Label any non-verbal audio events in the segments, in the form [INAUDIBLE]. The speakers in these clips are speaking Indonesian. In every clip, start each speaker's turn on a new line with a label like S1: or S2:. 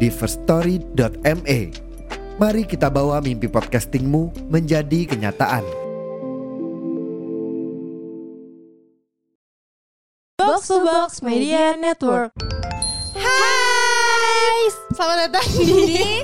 S1: di firststory.me. Mari kita bawa mimpi podcastingmu menjadi kenyataan.
S2: Box to Box Media Network.
S3: Hai, selamat datang
S2: [LAUGHS]
S3: di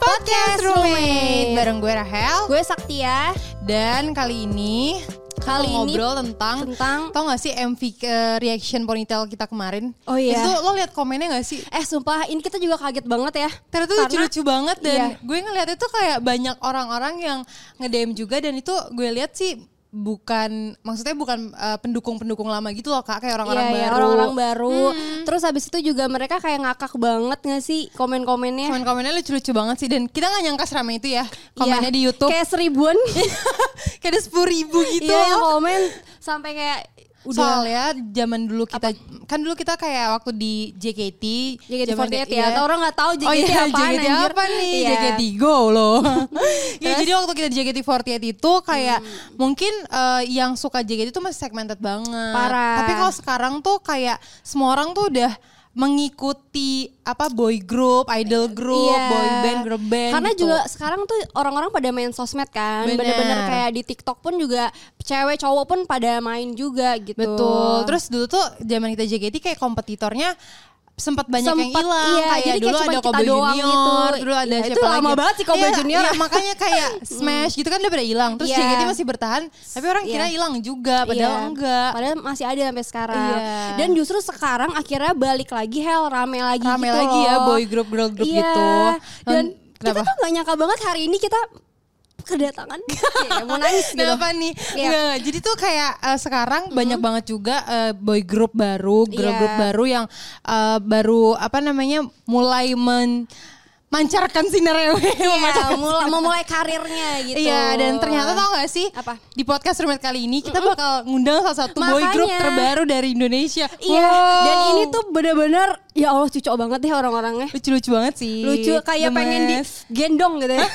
S3: Podcast Roommate Bareng gue Rahel
S2: Gue Saktia.
S3: Dan kali ini kita
S2: Kali
S3: mau
S2: ini
S3: ngobrol tentang
S2: tentang-
S3: Tau gak sih MV eh, reaction ponytail kita kemarin
S2: Oh, iya.
S3: Itu lo liat komennya gak sih?
S2: Eh sumpah, ini kita juga kaget banget ya.
S3: Ternyata
S2: Karena-
S3: lucu-lucu banget dan
S2: Iya.
S3: gue ngeliatnya tuh kayak banyak orang-orang yang nge-DM juga dan itu gue lihat sih bukan maksudnya bukan eh, pendukung-pendukung lama gitu loh kak kayak orang-orang
S2: Iya, iya,
S3: baru Hmm.
S2: orang-orang baru. Terus habis itu juga mereka kayak ngakak banget gak sih komen-komennya?
S3: komen-komennya lucu-lucu banget sih dan kita nggak nyangka seramai itu ya komennya
S2: Iya,
S3: di YouTube
S2: Kayak seribuan.
S3: [LAUGHS] kayak ada sepuluh ribu gitu
S2: Iya, yang komen sampai kayak udah
S3: Soalnya zaman dulu kita kan dulu kita kayak waktu di JKT, zaman
S2: JKT48
S3: iya.
S2: ya. Atau orang nggak tahu JKT
S3: oh iya,
S2: apaan,
S3: JKT
S2: anjir.
S3: apa nih?
S2: Iya.
S3: JKT Go [LAUGHS] loh. Iya, jadi waktu kita di JKT48 itu kayak mungkin eh, yang suka JKT itu masih segmented banget.
S2: Parah.
S3: Tapi kalau sekarang tuh kayak semua orang tuh udah mengikuti apa boy group, idol group,
S2: Iya.
S3: boy band, girl band.
S2: Karena
S3: gitu.
S2: juga sekarang tuh orang-orang pada main sosmed kan,
S3: Bener.
S2: bener-bener kayak di TikTok pun juga cewek cowok pun pada main juga gitu.
S3: Betul. Terus dulu tuh zaman kita JKT kayak kompetitornya sempat banyak yang
S2: Sempet,
S3: hilang
S2: iya.
S3: kayak
S2: Jadi kayak
S3: dulu
S2: cuma
S3: ada
S2: kita
S3: Kobe
S2: doang
S3: Junior,
S2: gitu.
S3: dulu ada
S2: Iya,
S3: siapa
S2: itu lama
S3: lagi?
S2: banget sih Kobe
S3: Iya,
S2: Junior. Hmm.
S3: iya, makanya
S2: [LAUGHS]
S3: kayak Smash gitu kan udah pada hilang. Terus
S2: Iya.
S3: JKT masih bertahan, tapi orang
S2: Iya.
S3: kira hilang juga padahal
S2: Iya.
S3: enggak.
S2: Padahal masih ada sampai sekarang.
S3: Iya.
S2: Dan justru sekarang akhirnya balik lagi hell rame lagi
S3: Rame
S2: gitu
S3: lagi
S2: loh.
S3: ya boy group girl group
S2: Iya.
S3: gitu.
S2: Dan kita
S3: Kenapa?
S2: tuh gak nyangka banget hari ini kita
S3: [LAUGHS]
S2: kedatangan Kayak mau nangis gitu.
S3: Kenapa nih?
S2: Iya. Hmm.
S3: Nggak, jadi tuh kayak eh, sekarang banyak banget juga eh, boy group baru, girl
S2: Iya.
S3: group baru yang eh, baru apa namanya mulai men mancarkan
S2: [LAUGHS]
S3: sinarnya,
S2: Iya,
S3: memancarkan
S2: mula- memulai karirnya gitu.
S3: Iya dan ternyata tau gak sih
S2: Apa?
S3: di podcast roommate kali ini kita bakal ngundang salah satu boy
S2: Makanya.
S3: group terbaru dari Indonesia.
S2: Iya,
S3: Wow.
S2: dan ini tuh bener-bener ya Allah cucok banget deh orang-orangnya.
S3: lucu-lucu banget sih.
S2: Lucu kayak
S3: Gemes.
S2: pengen digendong gitu
S3: [LAUGHS]
S2: ya.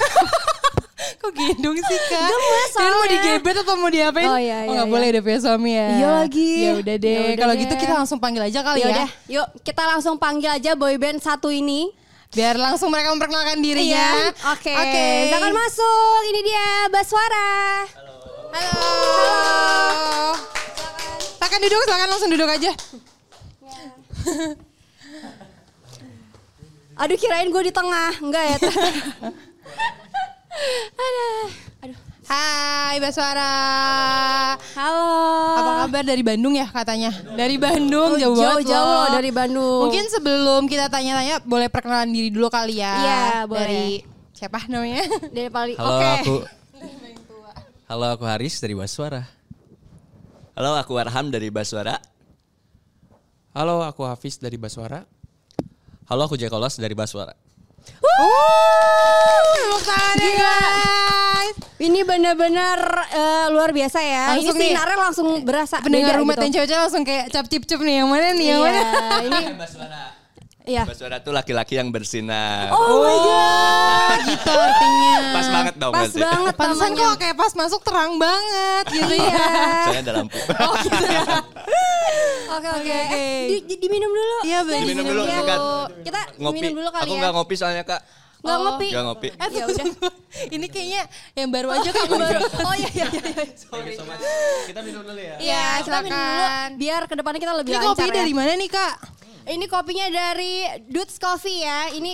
S3: kok gendong sih kak?
S2: Gemes
S3: Dan mau
S2: soalnya.
S3: digebet atau mau diapain?
S2: Oh, iya, iya,
S3: nggak
S2: iya.
S3: boleh udah punya suami ya.
S2: Iya lagi.
S3: Ya udah deh.
S2: Ya udah
S3: Kalau
S2: deh.
S3: gitu kita langsung panggil aja kali
S2: ya
S3: ya.
S2: udah, yuk kita langsung panggil aja boyband satu ini.
S3: Biar langsung mereka memperkenalkan dirinya.
S2: Iya, Oke.
S3: Iya. Oke.
S2: Silakan masuk. Ini dia Baswara.
S3: Halo. Silakan duduk, silakan langsung duduk aja.
S2: Aduh kirain gue di tengah. Enggak
S3: [LAUGHS]
S2: ya. Aduh. Aduh.
S3: Hai Baswara.
S2: Halo. Ah.
S3: Apa kabar dari Bandung ya katanya? Dari Bandung jauh, banget.
S2: Jauh-jauh
S3: loh.
S2: loh Oh, dari Bandung.
S3: Mungkin sebelum kita tanya-tanya boleh perkenalan diri dulu kali ya.
S2: Iya, boleh.
S3: Dari siapa
S2: [LAUGHS]
S3: namanya?
S2: dari paling
S4: Halo
S2: Oke.
S4: aku Halo aku Haris dari Baswara.
S5: Halo, aku Arham dari Baswara.
S4: Halo aku Hafiz dari Baswara.
S5: Halo, aku Jekolos dari Baswara.
S3: Wuh, tepuk tangan ya,
S2: Gila.
S3: guys.
S2: Ini benar-benar eh, luar biasa ya.
S3: Langsung
S2: ini
S3: nih.
S2: sinarnya langsung berasa. beda
S3: Pendengar rumah
S2: gitu.
S3: dan cewek-cewek langsung kayak cap cip cup nih yang mana nih ya, yang
S2: Iya,
S3: mana?
S2: ini
S5: Baswara.
S2: iya.
S4: [LAUGHS]
S5: Baswara tuh laki-laki yang bersinar.
S2: Oh my
S3: Oh,
S2: god.
S3: gitu artinya.
S5: Pas banget dong
S2: Pas
S5: pasti.
S2: banget
S3: Pantesan
S2: namanya.
S3: kok kayak pas masuk terang banget gitu
S5: [LAUGHS]
S3: ya.
S2: iya.
S5: Soalnya ada lampu.
S3: Oh, gitu ya.
S2: Oke
S3: Oke,
S2: oke. Eh,
S3: oke.
S2: di- di- diminum dulu.
S3: Iya, Eh, boleh
S5: Diminum dulu,
S2: Iya.
S5: sikat.
S2: Kita
S5: [LAUGHS] ngopi.
S2: minum dulu kali
S5: aku
S2: ya.
S5: nggak ngopi soalnya kak.
S2: Nggak
S3: Oh.
S2: ngopi.
S5: Nggak ngopi.
S3: Eh,
S2: [LAUGHS] Ya
S3: tunggu,
S2: udah.
S3: tunggu. Ini kayaknya yang baru aja kan
S2: Oh iya iya iya.
S4: Kita minum dulu ya.
S2: Iya, kita minum dulu
S3: silakan.
S2: biar kedepannya kita lebih
S3: Ini
S2: lancar
S3: kopi
S2: ya.
S3: dari mana nih kak?
S2: Ini kopinya dari Dudes Coffee ya. Ini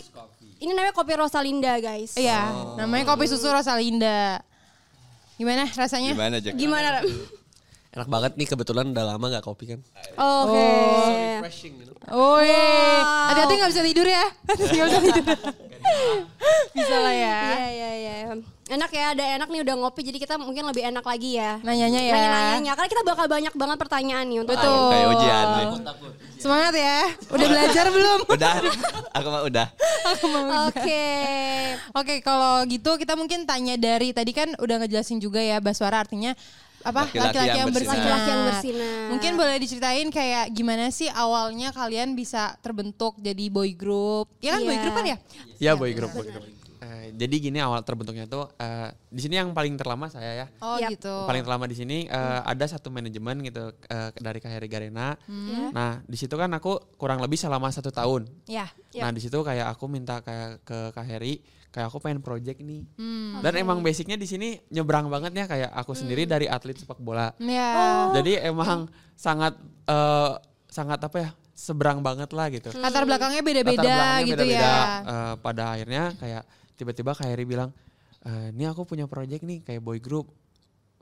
S2: ini namanya kopi Rosalinda guys.
S3: Iya,
S5: Oh.
S3: namanya kopi susu Rosalinda. Gimana rasanya?
S5: Gimana Jek?
S2: Gimana? Ram?
S4: Enak banget nih kebetulan udah lama nggak kopi kan.
S2: Oh, Oke.
S4: Refreshing gitu.
S3: Oh, iya.
S2: Wow.
S3: hati-hati
S2: [LAUGHS]
S3: nggak bisa tidur ya. Hati-hati nggak bisa tidur. bisa lah ya.
S2: Iya iya iya. Enak ya, ada enak nih udah ngopi jadi kita mungkin lebih enak lagi ya.
S3: Nanyanya ya.
S2: Nanya-nanya, karena kita bakal banyak banget pertanyaan nih untuk
S3: Betul.
S5: Ah, kayak ujian nih.
S3: Semangat ya. Udah belajar belum?
S5: Udah, aku mah udah.
S3: Aku mau udah.
S2: Oke.
S3: Oke, kalau gitu kita mungkin tanya dari tadi kan udah ngejelasin juga ya Baswara artinya apa
S5: Laki-laki
S3: laki-laki
S5: yang
S3: yang, bersinar.
S5: bersinar.
S2: Laki-laki yang bersinar.
S3: Mungkin boleh diceritain kayak gimana sih awalnya kalian bisa terbentuk jadi boy group? Iya kan boy
S2: Iya.
S3: group kan ya?
S4: Ya boy group, boy group. Eh, jadi gini awal terbentuknya tuh eh, di sini yang paling terlama saya ya.
S3: Oh Hmm.
S2: Yap.
S3: gitu.
S4: Paling terlama di sini eh, ada satu manajemen gitu eh, dari Kak Heri Garena.
S3: Hmm.
S2: Hmm.
S4: Nah di situ kan aku kurang lebih selama satu tahun.
S3: Ya.
S4: Nah di situ kayak aku minta kayak ke Kak Heri kayak aku pengen project nih.
S3: Hmm,
S4: Dan emang basicnya di sini nyebrang banget ya kayak aku sendiri dari atlet sepak bola.
S3: Ya.
S2: Oh.
S4: Jadi emang sangat eh, sangat apa ya seberang banget lah gitu.
S3: Latar belakangnya
S4: Latar
S3: beda-beda
S4: belakangnya
S3: gitu
S4: beda-beda.
S3: ya.
S4: Eh, pada akhirnya kayak tiba-tiba Kak Heri bilang, "Eh, ini aku punya project nih kayak boy group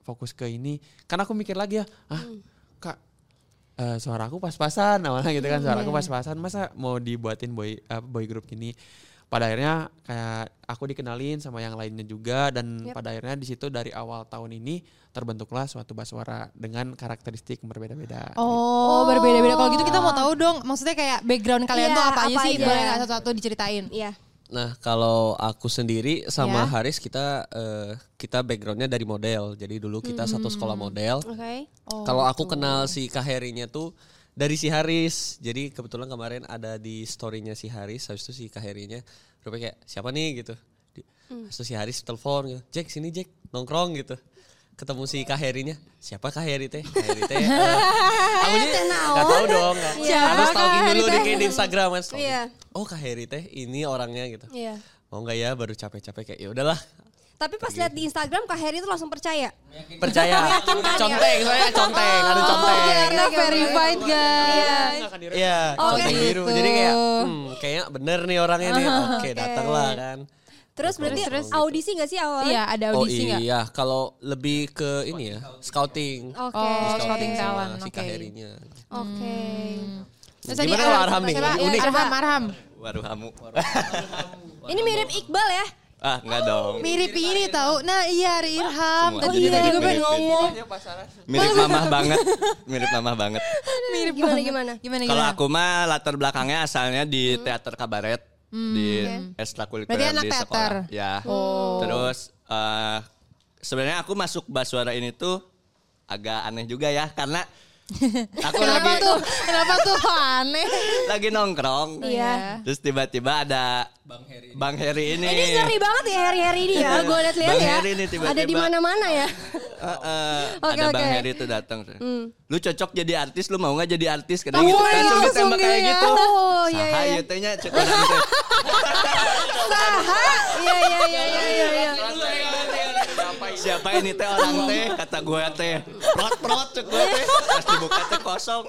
S4: fokus ke ini. Karena aku mikir lagi ya, ah kak eh, suara aku pas-pasan awalnya gitu kan suara aku pas-pasan masa mau dibuatin boy eh, boy group gini. Pada akhirnya kayak aku dikenalin sama yang lainnya juga dan pada akhirnya di situ dari awal tahun ini terbentuklah suatu baswara dengan karakteristik yang berbeda-beda.
S3: Oh, berbeda-beda. Kalau gitu kita mau tahu dong, maksudnya kayak background kalian
S2: Iya,
S3: tuh apa aja
S2: apa
S3: sih?
S2: aja.
S3: Boleh nggak satu-satu diceritain?
S2: Iya.
S6: Nah, kalau aku sendiri sama
S3: Ya.
S6: Haris kita eh, kita backgroundnya dari model. Jadi dulu
S3: Hmm.
S6: kita satu sekolah model.
S2: Oke.
S3: Oh,
S6: kalau aku
S3: gitu.
S6: kenal si Kaherinya tuh dari si Haris. Jadi kebetulan kemarin ada di storynya si Haris. Habis itu si Kaherinya rupanya kayak siapa nih gitu. Di-
S3: Hmm.
S6: Habis itu si Haris telepon gitu. Jack sini Jack nongkrong gitu. Ketemu si Kaherinya. Siapa Kaheri teh? Kaheri
S3: [LAUGHS]
S6: teh. eh, aku sih nggak tahu dong. nggak-
S3: Siapa
S6: Harus stalking
S3: Kaheri
S6: dulu di,
S3: teh?
S6: di Instagram. harus stalking.
S2: Iya.
S6: Oh Kaheri teh ini orangnya gitu
S2: Iya.
S6: mau nggak ya baru capek-capek kayak ya udahlah
S2: Tapi pas lihat di Instagram Kak Heri itu langsung percaya.
S3: [LAUGHS] kan?
S6: percaya conteng saya conteng ada
S3: Oh,
S6: conteng
S3: Karena
S2: Iya.
S3: verified guys.
S6: Iya,
S3: Oh,
S6: conteng biru
S3: gitu.
S6: jadi kayak hmm, kayaknya bener nih orangnya
S3: [LAUGHS]
S6: nih oke datanglah kan
S2: Terus berarti
S3: terus.
S2: audisi nggak sih awal?
S3: Iya, ada
S6: oh
S3: audisi nggak?
S6: iya kalau lebih ke ini ya scouting
S2: Oke.
S3: Oh, scouting
S6: sama
S3: talent,
S6: si
S3: oke.
S6: Kaherinya
S2: Oke.
S5: Hmm.
S3: Terus
S6: Gimana kalau Arham nih?
S3: siapa?
S6: Unik.
S3: Ya, Arham, Arham.
S5: Waduh kamu.
S2: Ini mirip Iqbal ya?
S5: [LAUGHS] ah, enggak dong.
S3: Mirip ini tahu. Nah, iya Ari Irham.
S5: Semua
S3: Tadi
S5: jadi
S3: tadi gue
S5: mirip-mirip.
S3: pengen ngomong.
S5: Mirip
S3: [LAUGHS]
S5: mamah banget. Mirip mamah banget.
S3: [LAUGHS] Mirip
S2: Gimana,
S3: banget.
S2: gimana?
S3: Gimana
S5: Kalau
S3: gimana?
S5: aku mah latar belakangnya asalnya
S2: Hmm.
S5: di teater kabaret di ekstrakurikuler
S3: Berarti anak
S5: di
S3: teater.
S5: sekolah. Ya.
S2: Oh.
S5: Terus eh, sebenarnya aku masuk Baswara ini tuh agak aneh juga ya
S2: [LAUGHS]
S5: karena aku
S3: Kenapa
S5: lagi
S3: tuh? Kenapa tuh aneh?
S5: lagi nongkrong.
S2: [LAUGHS] Iya.
S5: Terus tiba-tiba ada Bang Heri. Bang Heri ini.
S2: Ini
S5: [LAUGHS]
S2: seri banget ya Heri-Heri ini ya. Gue lihat-lihat
S5: Iya. Bang
S2: ya.
S5: Heri ini tiba-tiba.
S2: Ada di mana-mana ya.
S5: Eh, eh,
S2: Oke,
S5: ada
S2: oke.
S5: Bang
S2: Hmm.
S5: Heri tuh datang. Lu cocok jadi artis, lu mau nggak jadi artis? Kadang gitu kan langsung ditembak kayak
S2: ya.
S5: gitu.
S2: Oh, iya,
S5: Saha
S2: iya.
S5: ieu teh nya, cek orang teh.
S2: Saha. Iya iya iya iya iya. iya.
S5: Siapa ini teh orang teh? Kata gue teh. Prot prot cek gue teh. Pas dibuka teh kosong.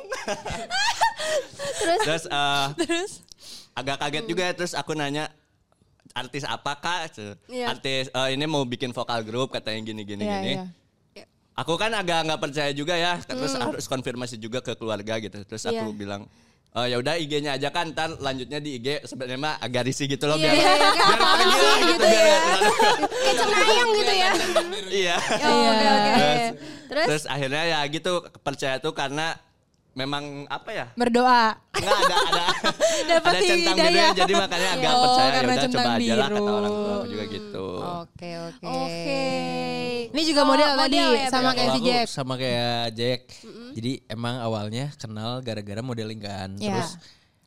S2: Terus?
S5: Terus eh, agak kaget juga ya, terus aku nanya artis apa kak?
S2: Iya.
S5: Artis eh, ini mau bikin vokal grup katanya gini gini
S3: Iya,
S5: gini.
S3: iya.
S5: Aku kan agak nggak percaya juga ya, terus harus konfirmasi juga ke keluarga gitu. Terus
S2: Hmm.
S5: aku
S2: Iya.
S5: bilang, "Eh, ya udah IG-nya aja kan, ntar lanjutnya di IG sebenarnya mah agak risih gitu loh
S2: Iya
S5: biar
S2: iya iya. Kayak
S5: [LAUGHS] biar
S2: apaan
S5: pergi
S2: sih
S5: lah gitu
S2: gitu
S5: [LAUGHS] biar
S2: ya.
S5: nggak terlalu-
S2: Kayak cenayang gitu ya.
S5: Iya.
S2: Oh, Oke oke. Terus?
S5: Terus? akhirnya ya gitu percaya tuh karena memang apa ya?
S3: Berdoa.
S5: Nggak ada ada
S3: [LAUGHS] Dapat
S5: ada centang
S3: hidayah.
S5: birunya jadi makanya agak
S3: Oh,
S5: percaya ya
S3: karena
S5: udah coba
S3: centang
S5: aja lah kata
S3: biru.
S5: orang tua aku juga gitu.
S3: Oke,
S2: Oke.
S3: oke.
S2: Oh, ya,
S3: Ini juga model tadi sama kayak si
S7: Kalau aku
S3: Jack.
S7: Sama kayak Jack. Jadi emang awalnya kenal gara-gara modeling kan.
S3: Ya.
S7: Terus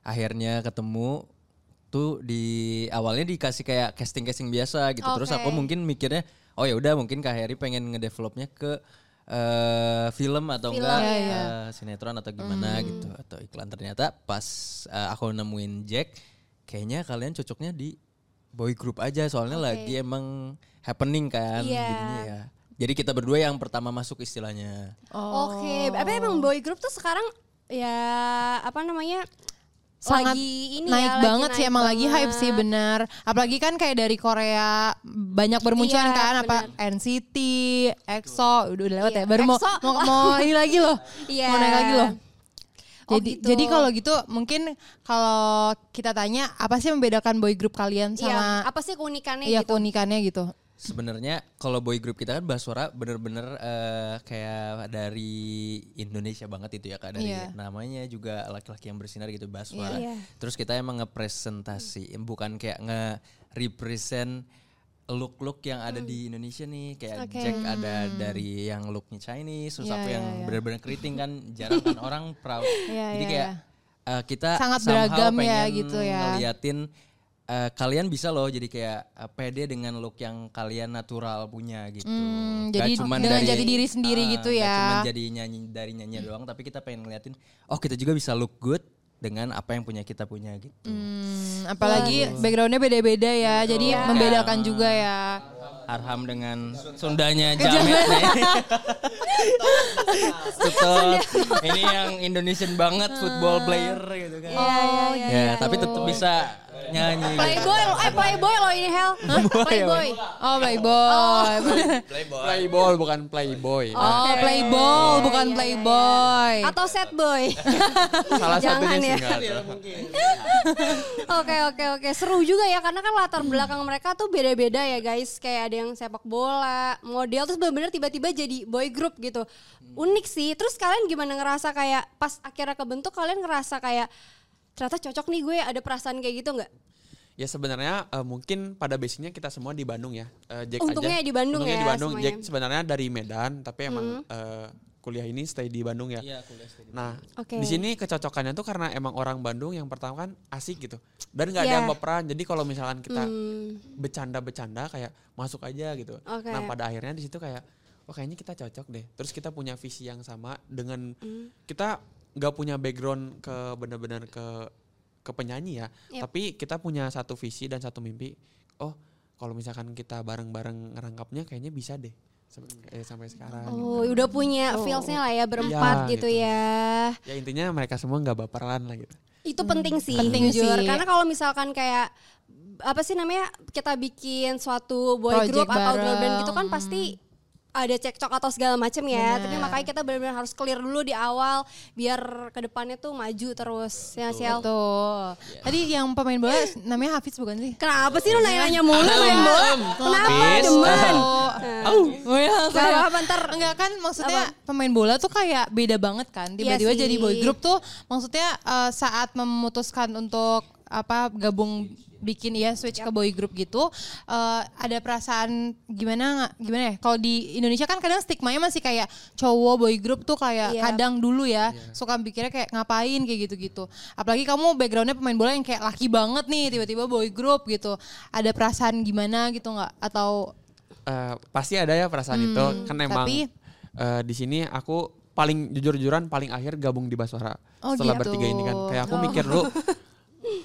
S7: akhirnya ketemu tuh di awalnya dikasih kayak casting-casting biasa gitu. Terus aku mungkin mikirnya oh ya udah mungkin Kak Heri pengen ngedevelopnya ke eh, film atau
S5: Iya,
S7: enggak
S3: ya, ya.
S7: eh, sinetron atau gimana gitu atau iklan ternyata pas eh, aku nemuin Jack kayaknya kalian cocoknya di boy group aja soalnya lagi emang happening kan
S2: Iya.
S7: jadinya ya. Jadi kita berdua yang pertama masuk istilahnya.
S2: Oke.
S3: Oh.
S2: Apa emang boy group tuh sekarang ya apa namanya?
S3: sangat
S2: lagi ini ya,
S3: naik
S2: lagi
S3: banget sih
S2: naik
S3: emang lagi hype sih
S2: banget.
S3: benar apalagi kan kayak dari Korea banyak
S2: Iya,
S3: bermunculan kan apa NCT, EXO udah udah lewat
S2: Iya,
S3: ya baru mau,
S2: EXO.
S3: mau
S2: [LAUGHS]
S3: mau ini lagi loh
S2: Iya.
S3: mau naik lagi loh
S2: Oh,
S3: jadi
S2: gitu.
S3: jadi kalau gitu mungkin kalau kita tanya apa sih yang membedakan boy group kalian
S2: Iya,
S3: sama
S2: apa sih keunikannya
S3: iya
S2: gitu?
S3: keunikannya gitu
S7: sebenarnya kalau boy group kita kan Baswara bener-bener eh, kayak dari Indonesia banget itu ya kak dari
S3: Iya.
S7: namanya juga laki-laki yang bersinar gitu Baswara.
S2: Iya. Iya.
S7: Terus kita emang ngepresentasi bukan kayak nge-represent look-look yang ada di
S3: Hmm.
S7: Indonesia nih kayak
S2: Oke.
S7: Jack ada dari yang looknya Chinese, terus
S3: Iya,
S7: aku
S3: iya,
S7: yang
S3: iya.
S7: bener-bener keriting kan jarang kan orang proud.
S3: [LAUGHS] Iya,
S7: Jadi
S3: iya,
S7: kayak
S3: iya.
S7: eh, kita
S3: Sangat
S7: somehow
S3: beragam ya,
S7: pengen
S3: gitu ya.
S7: ngeliatin eh, kalian bisa loh jadi kayak eh, pede dengan look yang kalian natural punya gitu.
S3: Hmm,
S7: Nggak
S3: jadi dengan jati diri sendiri
S7: Ah,
S3: gitu
S7: nggak
S3: ya.
S7: cuman jadi nyanyi dari nyanyi doang tapi kita pengen ngeliatin oh kita juga bisa look good dengan apa yang punya kita punya gitu.
S3: Hmm,
S2: Iya.
S3: apalagi backgroundnya beda-beda ya, jadi membedakan juga ya.
S7: Arham dengan Sundanya Jamet Nah, nih. Tutot. Ini yang Indonesian banget football player gitu kan.
S2: Oh,
S7: ya,
S3: iya.
S7: tapi tetap bisa nyanyi. gitu.
S2: Playboy, lo- eh playboy lo ini Hel. Hah? Playboy.
S3: Oh playboy,
S4: Playball bukan playboy.
S3: oh playball bukan playboy.
S2: Iya, Atau set boy.
S4: Salah
S2: Jangan ya.
S4: satunya sih nggak ada.
S2: Oke oke oke seru juga ya karena kan latar belakang mereka tuh beda-beda ya guys kayak ada yang sepak bola model terus bener-bener tiba-tiba jadi boy group gitu unik sih terus kalian gimana ngerasa kayak pas akhirnya kebentuk kalian ngerasa kayak ternyata cocok nih gue ada perasaan kayak gitu nggak
S4: Ya sebenarnya eh, mungkin pada basicnya kita semua di Bandung ya. Eh, Jack
S2: Untungnya
S4: aja.
S2: di Bandung
S4: Untungnya
S2: ya
S4: di Bandung.
S2: semuanya. Hmm.
S4: Jack sebenarnya dari Medan, tapi emang eh, kuliah ini stay di Bandung ya. Nah,
S2: Oke.
S4: di sini kecocokannya tuh karena emang orang Bandung yang pertama kan asik gitu. Dan nggak ada
S2: Iya.
S4: yang baperan. Jadi kalau misalkan kita
S2: Hmm.
S4: bercanda-bercanda kayak masuk aja gitu.
S2: Oke.
S4: Nah, pada akhirnya di situ kayak oh kayaknya kita cocok deh. Terus kita punya visi yang sama dengan
S2: Hmm.
S4: kita nggak punya background ke bener-bener ke ke penyanyi ya.
S2: Yep.
S4: Tapi kita punya satu visi dan satu mimpi. Oh, kalau misalkan kita bareng-bareng ngerangkapnya kayaknya bisa deh. Sampai, eh, sampai sekarang.
S2: oh udah punya feelsnya lah ya berempat
S4: Iya,
S2: gitu,
S4: gitu.
S2: ya
S4: Ya intinya mereka semua nggak baperan lah gitu.
S2: itu penting sih
S3: Penting
S2: jujur
S3: sih.
S2: karena kalau misalkan kayak apa sih namanya kita bikin suatu boy
S3: Project
S2: group atau girl band
S3: bareng.
S2: gitu kan pasti ada cekcok atau segala macam ya tapi makanya kita benar-benar harus clear dulu di awal biar kedepannya tuh maju terus ya Sial
S3: Tuh. Tadi yang pemain bola namanya Hafiz bukan sih?
S2: kenapa sih lu nanya-nanya mulu main bola kenapa demen
S3: Oh, ya,
S2: Gak
S3: kayak-
S2: apa-apa, ntar.
S3: enggak kan maksudnya pemain bola tuh kayak beda banget kan. Tiba-tiba
S2: Iya
S3: jadi
S2: sih.
S3: boy group tuh maksudnya eh, saat memutuskan untuk apa gabung bikin ya switch ke boy group gitu eh, ada perasaan gimana nggak- gimana ya kalau di Indonesia kan kadang stigmanya masih kayak cowok boy group tuh kayak
S2: Iya.
S3: kadang dulu ya suka pikirnya kayak ngapain kayak gitu-gitu apalagi kamu backgroundnya pemain bola yang kayak laki banget nih tiba-tiba boy group gitu ada perasaan gimana gitu nggak atau
S4: Eh, pasti ada ya perasaan itu kan emang
S3: Hmm, tapi-
S4: eh, di sini aku paling jujur-jujuran paling akhir gabung di Baswara
S3: Oh,
S4: setelah
S3: gitu.
S4: bertiga ini kan kayak aku mikir
S3: [LAUGHS]
S4: dulu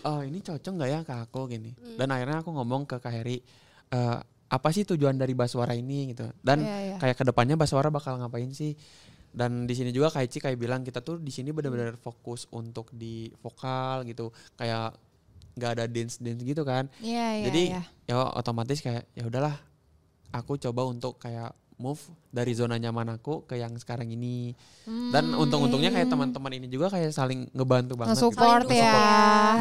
S4: oh ini cocok nggak ya ke aku gini
S3: Hmm.
S4: dan akhirnya aku ngomong ke Kak Heri eh, apa sih tujuan dari Baswara ini gitu dan
S3: Iya, iya.
S4: kayak kedepannya Baswara bakal ngapain sih dan di sini juga Kak Ici kayak bilang kita tuh di sini
S3: Hmm.
S4: benar-benar fokus untuk di vokal gitu kayak nggak ada dance dance gitu kan
S3: Iya, iya,
S4: jadi
S3: iya.
S4: ya otomatis kayak ya udahlah aku coba untuk kayak move dari zona nyaman aku ke yang sekarang ini
S3: Hmm,
S4: dan untung-untungnya kayak teman-teman ini juga kayak saling ngebantu banget
S3: iya, nge-support
S4: gitu.
S3: ya.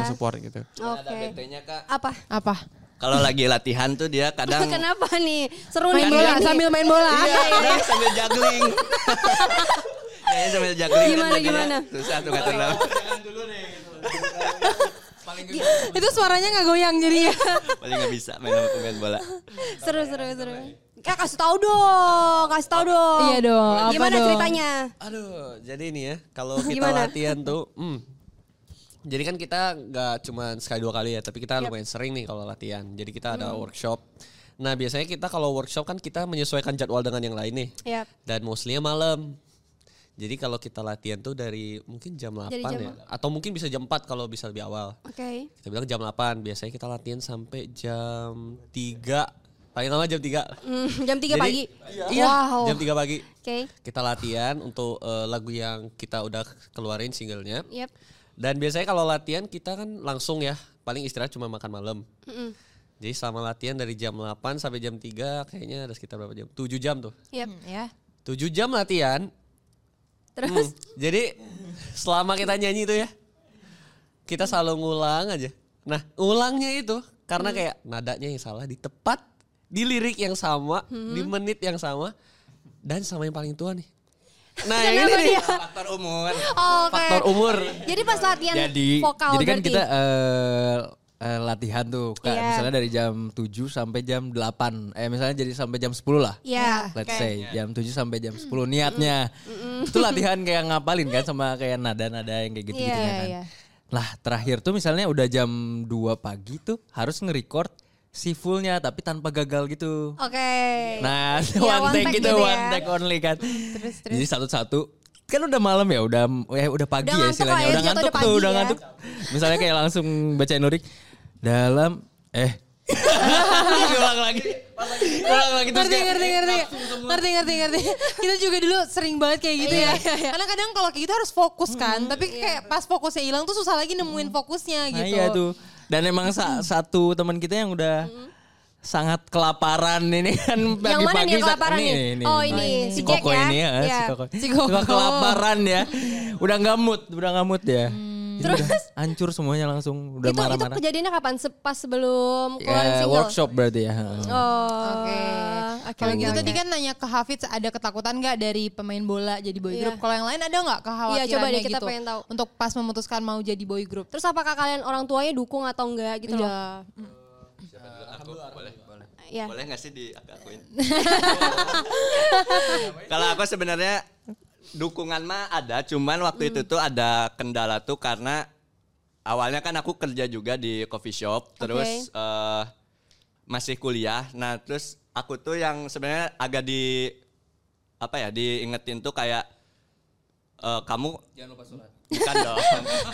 S4: Nge-support gitu
S2: oke
S5: BT-nya kak.
S2: apa
S3: Apa?
S5: Kalau lagi latihan tuh dia kadang
S2: [LAUGHS] kenapa nih seru
S3: Main
S2: nih
S3: bola
S2: kayaknya.
S3: sambil main bola.
S5: Iya, kadang sambil juggling.
S2: [LAUGHS]
S5: Kayaknya sambil juggling. kan
S2: Gimana,
S5: jadinya
S2: gimana?
S5: Susah tuh kata lo.
S3: Itu suaranya nggak goyang jadi ya.
S2: Iya.
S5: Paling nggak bisa main sama pemain bola.
S2: seru seru seru Kak kasih tahu dong kasih tahu dong
S3: Iya dong, apa
S2: gimana
S3: dong?
S2: ceritanya
S6: Aduh, jadi ini ya
S3: [LAUGHS]
S6: kalau kita
S2: Gimana?
S6: latihan tuh, hmm. jadi kan kita nggak cuma sekali dua kali ya, tapi kita lumayan sering nih kalau latihan. Jadi kita
S3: Hmm.
S6: ada workshop. Nah biasanya kita kalau workshop kan kita menyesuaikan jadwal dengan yang lain nih,
S3: Iya.
S2: Yap.
S6: dan mostly malam. Jadi kalau kita latihan tuh dari mungkin jam 8
S2: Dari jam
S6: ya, atau mungkin bisa jam 4 kalau bisa lebih awal.
S2: oke
S6: Kita bilang jam 8, biasanya kita latihan sampai jam 3, paling lama jam 3.
S2: Hmm, jam 3
S6: Jadi-
S2: pagi.
S6: Iya,
S2: Wow.
S6: jam 3 pagi.
S2: Oke.
S6: Kita latihan untuk eh, lagu yang kita udah keluarin singlenya.
S2: Yep.
S6: Dan biasanya kalau latihan kita kan langsung ya, paling istirahat cuma makan malam. Jadi selama latihan dari jam 8 sampai jam 3 kayaknya ada sekitar berapa jam? 7 jam tuh.
S2: Yep.
S4: Hmm,
S3: ya.
S6: 7 jam latihan.
S2: Terus
S6: Hmm, Jadi selama kita nyanyi itu ya, kita
S2: Hmm.
S6: selalu ngulang aja. Nah, ulangnya itu karena kayak nadanya yang salah di tepat di lirik yang sama,
S2: Hmm.
S6: di menit yang sama dan sama yang paling tua nih. Nah, yang ini
S2: Iya.
S6: nih.
S5: Faktor umur.
S2: Oh, oke.
S6: Faktor umur.
S2: Jadi pas latihan
S7: jadi
S2: vokal
S7: jadi kan
S2: berarti.
S7: kita eh, eh, latihan tuh kayak
S2: Iya.
S7: misalnya dari jam 7 sampai jam 8 eh misalnya jadi sampai jam 10 lah
S2: Iya.
S7: let's
S3: Oke.
S7: say jam 7 sampai jam 10 niatnya itu latihan kayak ngapalin kan sama kayak nada-nada yang kayak gitu-gitu
S2: Iya,
S7: kan
S3: iya.
S7: lah terakhir tuh misalnya udah jam 2 pagi tuh harus nge-record si fullnya tapi tanpa gagal gitu
S2: Oke.
S7: Nah,
S2: Ya,
S7: [LAUGHS] one take gitu,
S2: gitu
S7: one
S2: ya.
S7: take only kan. Jadi satu-satu kan
S2: [LAUGHS]
S7: udah malam ya, udah eh, udah pagi ya
S2: Udah ngantuk
S7: istilahnya,
S2: lah ya,
S7: udah
S2: jatuh
S7: ngantuk
S2: udah
S7: tuh,
S2: pagi
S7: udah
S2: ya.
S7: ngantuk. Misalnya kayak langsung bacain lurik dalam
S5: [LAUGHS]
S7: eh
S6: Ulang lagi. Ulang lagi terus
S3: ngerti
S6: kayak,
S3: ngerti ngerti ngerti ngerti ngerti kita juga dulu sering banget kayak gitu ya karena kadang kalau kayak gitu harus fokus kan tapi kayak pas fokusnya hilang tuh susah lagi nemuin fokusnya
S7: nah,
S3: gitu
S7: iya tuh. Dan emang sa- satu teman kita yang udah sangat kelaparan ini kan pagi-pagi.
S2: Yang mana nih yang
S7: sa-
S2: kelaparan
S7: ini,
S2: nih? Oh, ini,
S7: si
S2: si Jack
S7: Koko
S2: ya?
S7: ini ya,
S2: Iya.
S7: si Koko.
S3: Si Koko.
S7: Suka kelaparan
S2: [LAUGHS]
S7: ya. Udah nggak mood, udah nggak mood ya. Itu udah
S2: Terus?
S7: hancur semuanya langsung udah
S2: Mm. itu itu
S7: marah-marah.
S2: kejadiannya kapan? Se- Pas sebelum keluarin
S7: Eh,
S2: single.
S7: workshop berarti ya. Heeh.
S2: Oh.
S3: Eh, Oke. Kalau gitu tadi kan nanya ke Hafiz ada ketakutan nggak dari pemain bola jadi boy
S2: Iya.
S3: group? Kalau yang lain ada nggak kekhawatirannya
S2: Iya, coba deh, kita
S3: gitu
S2: pengen tahu.
S3: Untuk pas memutuskan mau jadi boy group.
S2: Terus apakah kalian orang tuanya dukung atau enggak gitu loh?
S3: Iya.
S5: Aku boleh. Boleh.
S2: Iya.
S5: Boleh gak sih diakuin? Kalau aku sebenarnya dukungan mah ada, cuman waktu itu tuh ada kendala tuh karena awalnya kan aku kerja juga di coffee shop, terus eh, masih kuliah. Nah, terus aku tuh yang sebenarnya agak di apa ya, diingetin tuh kayak eh, kamu jangan lupa sholat. Bukan dong.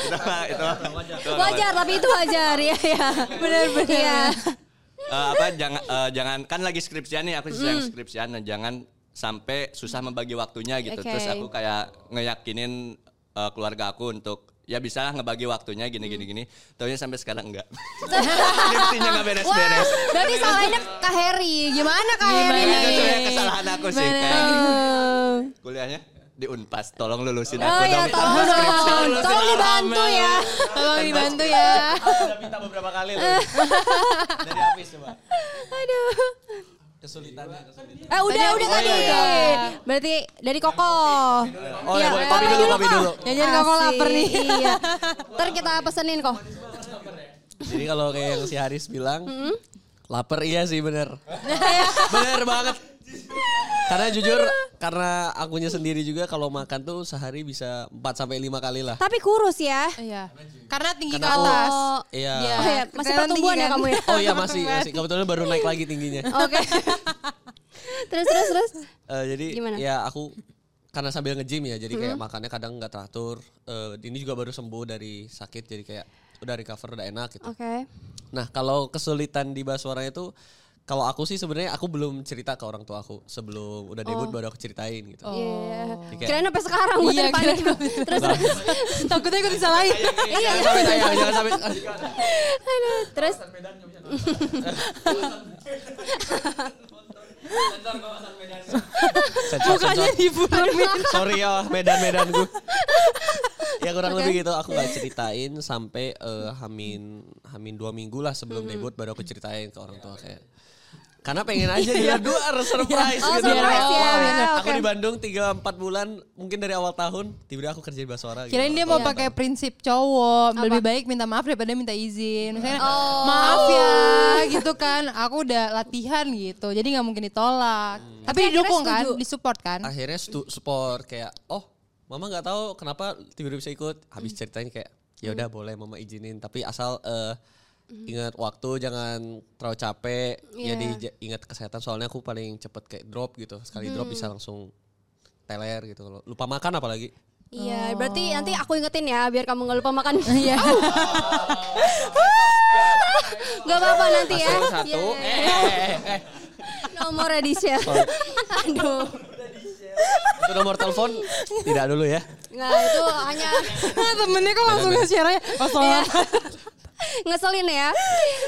S5: itu mah- itu mah- itu mah-
S2: Wajar, tapi itu wajar ya ya. Benar benar. Iya.
S5: Eh, apa jangan eh, jangan kan lagi skripsian nih aku
S2: Mm.
S5: sedang skripsian nah, jangan sampai susah membagi waktunya gitu terus
S2: Oke.
S5: aku kayak ngeyakinin eh, keluarga aku untuk ya bisa lah ngebagi waktunya gini gini gini taunya sampai
S2: [LAUGHS]
S5: sekarang enggak skripsinya nggak beres
S2: Wah,
S5: beres
S2: berarti salahnya Kak Heri. Gimana Kak
S3: Iya,
S2: Heri
S5: itu
S2: nih?
S5: sebenarnya kesalahan aku sih kayak
S2: Eh,
S5: kuliahnya di unpas tolong lulusin
S2: Oh
S5: aku
S2: ya,
S5: dong
S2: tolong dong.
S5: lulusin
S2: Tolong
S5: aku.
S2: dibantu ya.
S3: Tolong dibantu ya.
S5: aku udah minta beberapa kali
S2: [LAUGHS]
S5: loh dari habis coba
S2: Eh udah udah tadi. Berarti dari Koko.
S5: Oh,
S2: Iya,
S5: boleh, kopi dulu, kopi dulu.
S2: Jangan Koko lapar nih. Iya. Ntar kita pesenin kok.
S6: Jadi kalau kayak yang si Haris bilang, lapar iya sih bener. bener banget. Karena jujur, karena akunya sendiri juga kalau makan tuh sehari bisa 4 sampai 5 kali lah.
S2: Tapi kurus ya.
S3: Iya. Karena tinggi
S6: Karena
S3: ke
S6: aku-
S3: atas.
S6: Iya.
S2: Oh ya, masih
S3: Kelihatan
S2: pertumbuhan
S3: tinggi
S2: ya
S3: kan?
S2: kamu ya.
S6: Oh iya masih, masih. Kebetulan baru naik lagi tingginya.
S2: Oke. [LAUGHS] terus terus terus.
S6: Eh, jadi
S2: Gimana?
S6: ya aku karena sambil nge-gym ya, jadi kayak makannya kadang nggak teratur. Eh, ini juga baru sembuh dari sakit, jadi kayak udah recover, udah enak gitu.
S2: Oke.
S6: Nah, kalau kesulitan di Baswara itu kalau aku sih sebenarnya aku belum cerita ke orang tua aku sebelum udah debut baru aku ceritain gitu.
S2: Iya.
S6: Kayak-
S2: Kirain sampai sekarang gue
S3: Iya,
S2: tadi panik.
S3: kirain
S2: [LAUGHS] Terus terus.
S3: Takutnya ikut disalahin.
S2: Iya.
S6: Jangan sampai tayang, jangan sampai.
S2: Aduh, terus
S5: [LAUGHS]
S6: Sensor,
S3: Bukannya
S6: sensor.
S3: dibunuh.
S6: Sorry ya Medan-Medan gue. ya kurang lebih gitu aku gak ceritain sampai eh, hamin hamin dua minggu lah sebelum debut baru aku ceritain ke orang
S2: Iya,
S6: tua kayak karena pengen aja dia
S2: [LAUGHS]
S6: dua surprise
S2: Oh,
S6: gitu.
S2: surprise ya.
S6: iya. Aku
S2: Oke.
S6: di Bandung 3 4 bulan mungkin dari awal tahun tiba-tiba aku kerja di Baswara gitu.
S3: Kirain dia
S2: Iya,
S3: mau pakai prinsip cowok, lebih baik minta maaf daripada minta izin. Misalnya,
S2: Oh.
S3: maaf ya gitu kan, aku udah latihan gitu, jadi nggak mungkin ditolak. Tapi didukung kan,
S2: Hmm. setuju.
S3: disupport kan.
S6: akhirnya stu- support kayak oh mama nggak tahu kenapa tiba-tiba bisa ikut habis ceritain kayak ya udah boleh mama izinin tapi asal eh, ingat waktu jangan terlalu capek ya
S2: Iya.
S6: jadi ingat kesehatan soalnya aku paling cepet kayak drop gitu sekali drop
S2: Hmm.
S6: bisa langsung teler gitu loh lupa makan apalagi
S2: Iya, berarti nanti aku ingetin ya biar kamu nggak lupa makan. Iya. [LAUGHS] Gak apa-apa nanti ya.
S6: Langsung satu Eh,
S2: Iya, iya, iya. Nomornya di share. ya. [LAUGHS] Aduh.
S6: itu
S2: [LAUGHS]
S6: nomor telepon tidak dulu ya
S2: Nah, itu hanya [LAUGHS] Ah,
S3: Nah, temennya kok langsung nge-share aja. Oh,
S2: Iya.
S3: salah.
S2: [LAUGHS] ngeselin ya.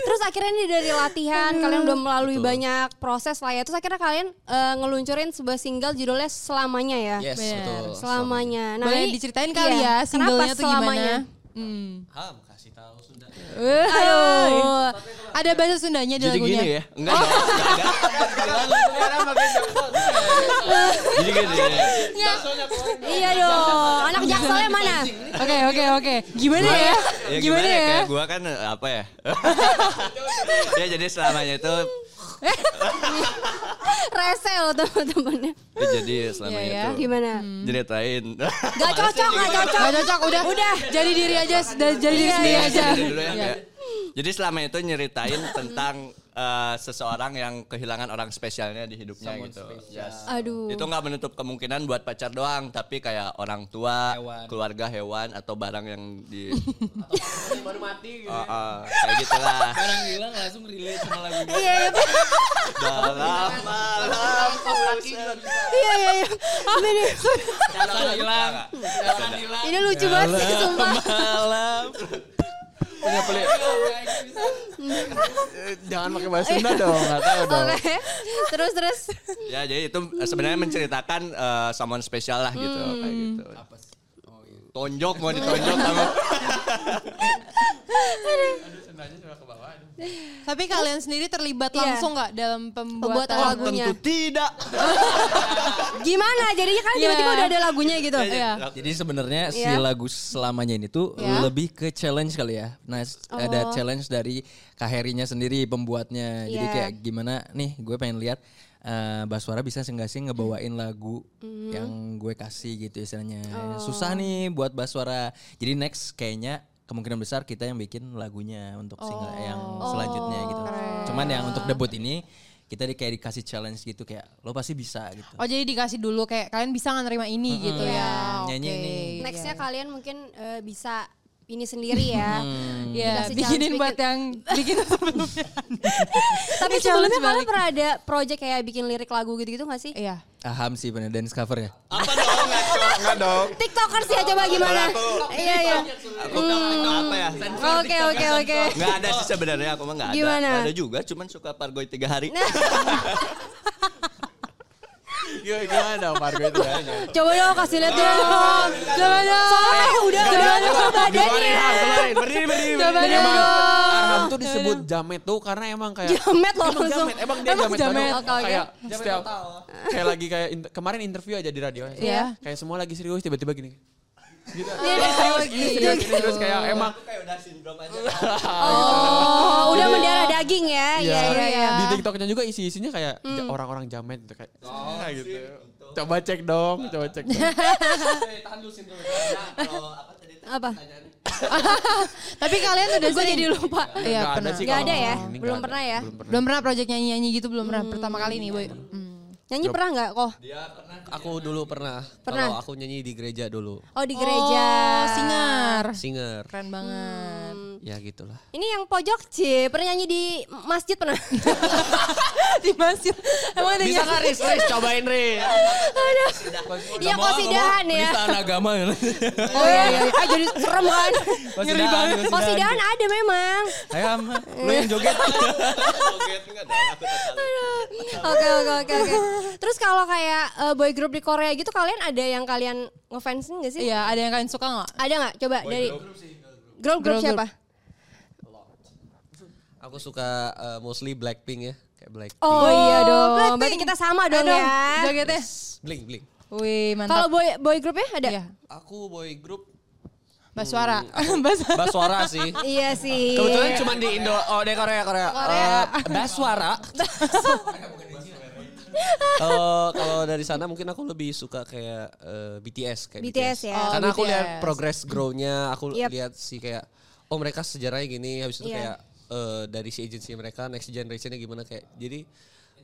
S2: Terus akhirnya ini dari latihan kalian udah melalui banyak proses lah ya. Terus akhirnya kalian eh, ngeluncurin sebuah single judulnya Selamanya ya.
S6: yes betul
S2: Selamanya. Nah,
S3: Boleh
S2: ini-
S3: diceritain kali
S2: iya.
S3: ya
S2: Kenapa
S3: singlenya Hmm. tuh gimana?
S2: Selamanya?
S3: Hmm.
S6: ham kasih tahu sudah
S3: Aduh. Ada Ada bahasa Sundanya di
S5: Jadi
S3: lagunya.
S5: gini ya? Enggak, dong, enggak ada. Jadi gini.
S2: Iya dong. Anak jakselnya mana?
S3: Oke oke oke. Gimana ya?
S5: Ya
S3: Gimana ya?
S5: Kayak gua kan eh, apa ya? [LAUGHS] ya jadi selamanya itu
S2: Rese loh teman-temannya.
S5: itu jadi selamanya
S3: Iya,
S5: itu.
S2: Gimana?
S5: Diceritain.
S2: Gak cocok, gak cocok.
S3: Gak cocok udah. Udah. Jadi diri aja. dan Jadi diri sendiri
S5: Iya,
S3: aja.
S5: dulu ya,
S3: Iya.
S5: kayak. Jadi selama itu nyeritain tentang eh, seseorang yang kehilangan orang spesialnya di hidupnya gitu. Yes.
S2: Aduh.
S5: Itu nggak menutup kemungkinan buat pacar doang, tapi kayak orang tua,
S7: Hewan.
S5: keluarga, hewan atau barang yang di baru mati gitu. kayak gitu lah.
S7: Orang bilang langsung relate sama lagu
S2: Iya, iya,
S5: Dalam malam
S2: iya, iya, iya. Ini,
S7: Jangan hilang. Jangan hilang.
S2: ini lucu banget sih, sumpah. [LAUGHS]
S4: Malam. Punya pelik. Jangan pakai bahasa Sunda dong, nggak
S3: Iya.
S4: tahu dong.
S2: Oke, terus terus.
S5: Ya jadi itu sebenarnya menceritakan eh, someone spesial lah gitu
S2: Hmm.
S5: kayak gitu. Tonjok mau ditonjok sama
S3: Tapi kalian sendiri terlibat
S2: Iya.
S3: langsung nggak dalam
S2: Pembuatan
S3: pembuatan
S2: lagu. Lagunya.
S5: tentu tidak.
S2: Gimana? Jadinya kan tiba-tiba
S3: Iya.
S2: udah ada lagunya gitu.
S3: Iya.
S7: Jadi sebenarnya si
S2: Iya.
S7: lagu selamanya ini tuh
S3: Iya.
S7: lebih ke challenge kali ya. Nah, s-
S2: Oh.
S7: ada challenge dari Kaherinya sendiri pembuatnya. Jadi
S2: Iya.
S7: kayak gimana nih gue pengen lihat eh Baswara bisa nggak sih ngebawain
S2: Hmm.
S7: lagu yang gue kasih gitu istilahnya.
S2: Oh.
S7: Susah nih buat Baswara. Jadi next kayaknya kemungkinan besar kita yang bikin lagunya untuk single yang
S2: Oh.
S7: selanjutnya gitu. Cuman yang untuk debut ini kita di, kayak dikasih challenge gitu kayak lo pasti bisa gitu.
S3: Oh jadi dikasih dulu kayak kalian bisa nggak nerima ini gitu
S2: Iya.
S3: ya?
S7: Nyanyi
S3: Oke.
S7: ini.
S2: Nextnya kalian mungkin eh, bisa ini sendiri ya.
S3: Iya,
S2: Dikasih
S3: bikinin
S2: challenge
S3: buat yang [LAUGHS] bikin sebelumnya.
S2: [LAUGHS] Tapi sebelumnya
S3: Ini challenge
S2: kalian
S3: balik.
S2: pernah ada project kayak bikin lirik lagu gitu-gitu gak sih?
S3: Iya.
S7: Aham sih bener dance cover ya.
S5: Apa dong ngaco enggak dong.
S2: Tiktokers ya coba gimana? Iya, iya.
S5: Aku nggak apa ya?
S2: Oke, oke, oke.
S5: Nggak ada sih sebenarnya aku mah nggak ada.
S2: Gimana? Nah,
S5: Nggak ada juga, cuman suka pargoy tiga hari.
S4: Gimana, gimana dong Fargo itu ya?
S2: Coba dong kasih lihat
S3: Oh.
S2: dong. Coba dong. Iya. Soalnya udah udah badannya.
S4: Keluarin, keluarin. Berdiri, berdiri.
S2: Coba
S4: berdiri.
S2: dong.
S3: Iya,
S4: Iya, Arham tuh disebut jamet tuh karena emang kayak
S2: Jamet loh
S4: Emang
S2: langsung.
S4: jamet, emang dia
S3: Emang
S4: jamet,
S3: jamet.
S4: banget.
S2: Oke, oke.
S4: Kayak setiap kayak lagi kayak in- kemarin interview aja di radio. ya.
S3: Iya. Oh,
S4: Kayak semua lagi serius tiba-tiba gini. Gitu.
S2: Iya,
S4: Ini serius, ini serius, ini serius kayak emang
S5: Kayak udah sindrom aja.
S4: Iya.
S2: Oh, udah mendarah daging ya. Iya, iya, iya. Hmm.
S4: di TikToknya juga isi-isinya kayak ja- orang-orang jamet gitu kayak kayak gitu. Coba cek dong, coba cek.
S2: [LAUGHS]
S4: dong.
S2: Apa?
S3: [LAUGHS] Tapi kalian udah
S2: Gue jadi lupa.
S3: Iya,
S4: Nggak
S3: pernah.
S4: sih
S2: Nggak ada
S4: kalau
S2: ya?
S4: ini, nggak
S2: Belum
S4: ada.
S2: pernah ya?
S4: Belum pernah.
S3: Belum pernah project nyanyi-nyanyi gitu, belum pernah. Pertama kali nih, Boy. Hmm.
S2: Nyanyi pernah nggak kok?
S6: Aku dulu pernah.
S2: Pernah?
S6: Kalau aku nyanyi di gereja dulu.
S2: Oh di gereja.
S3: Oh, singer.
S6: Singer.
S3: Keren banget.
S6: Ya gitulah.
S2: Ini yang pojok C pernah nyanyi di masjid pernah.
S3: [LAUGHS] Di masjid. Emang ada
S4: Bisa
S3: nyanyi?
S4: kan Riz,
S6: Eh,
S4: Riz cobain Riz.
S2: Iya kosidahan ya.
S7: Penistaan [LAUGHS] agama ya.
S2: Oh iya iya. Eh, jadi serem kan.
S7: Ngeri banget.
S2: Kosidahan ada memang.
S7: Ayo Am, lu yang joget.
S5: Joget enggak dong, aku tertarik.
S2: Oke oke oke oke. Terus kalau kayak eh, boy group di Korea gitu kalian ada yang kalian ngefansin gak sih?
S3: Iya, ada yang kalian suka nggak?
S2: Ada nggak? Coba dari girl group,
S3: Girl group.
S2: siapa?
S6: Aku suka eh, mostly Blackpink ya. Kayak Blackpink.
S2: Oh iya dong.
S3: Blackpink.
S2: Berarti kita sama dong
S3: Aduh,
S2: ya.
S3: Jogetnya.
S6: Blink, blink.
S3: Wih,
S2: Kalau
S3: mantap.
S2: boy boy groupnya ada?
S3: Iya.
S6: Aku boy group
S3: Baswara. [LAUGHS] Baswara.
S6: Baswara sih.
S2: Iya sih.
S6: Kebetulan cuma di Indo, oh di Korea, Korea. Eh, Baswara. Kalau Eh, kalau dari sana mungkin aku lebih suka kayak eh, BTS kayak
S2: BTS ya.
S3: Oh,
S6: Karena aku lihat
S3: BTS.
S6: progress grow-nya, aku
S2: Yep.
S6: lihat sih kayak oh mereka sejarahnya gini, habis itu
S2: Iya.
S6: kayak eh, dari si agency mereka next generation-nya gimana kayak. Jadi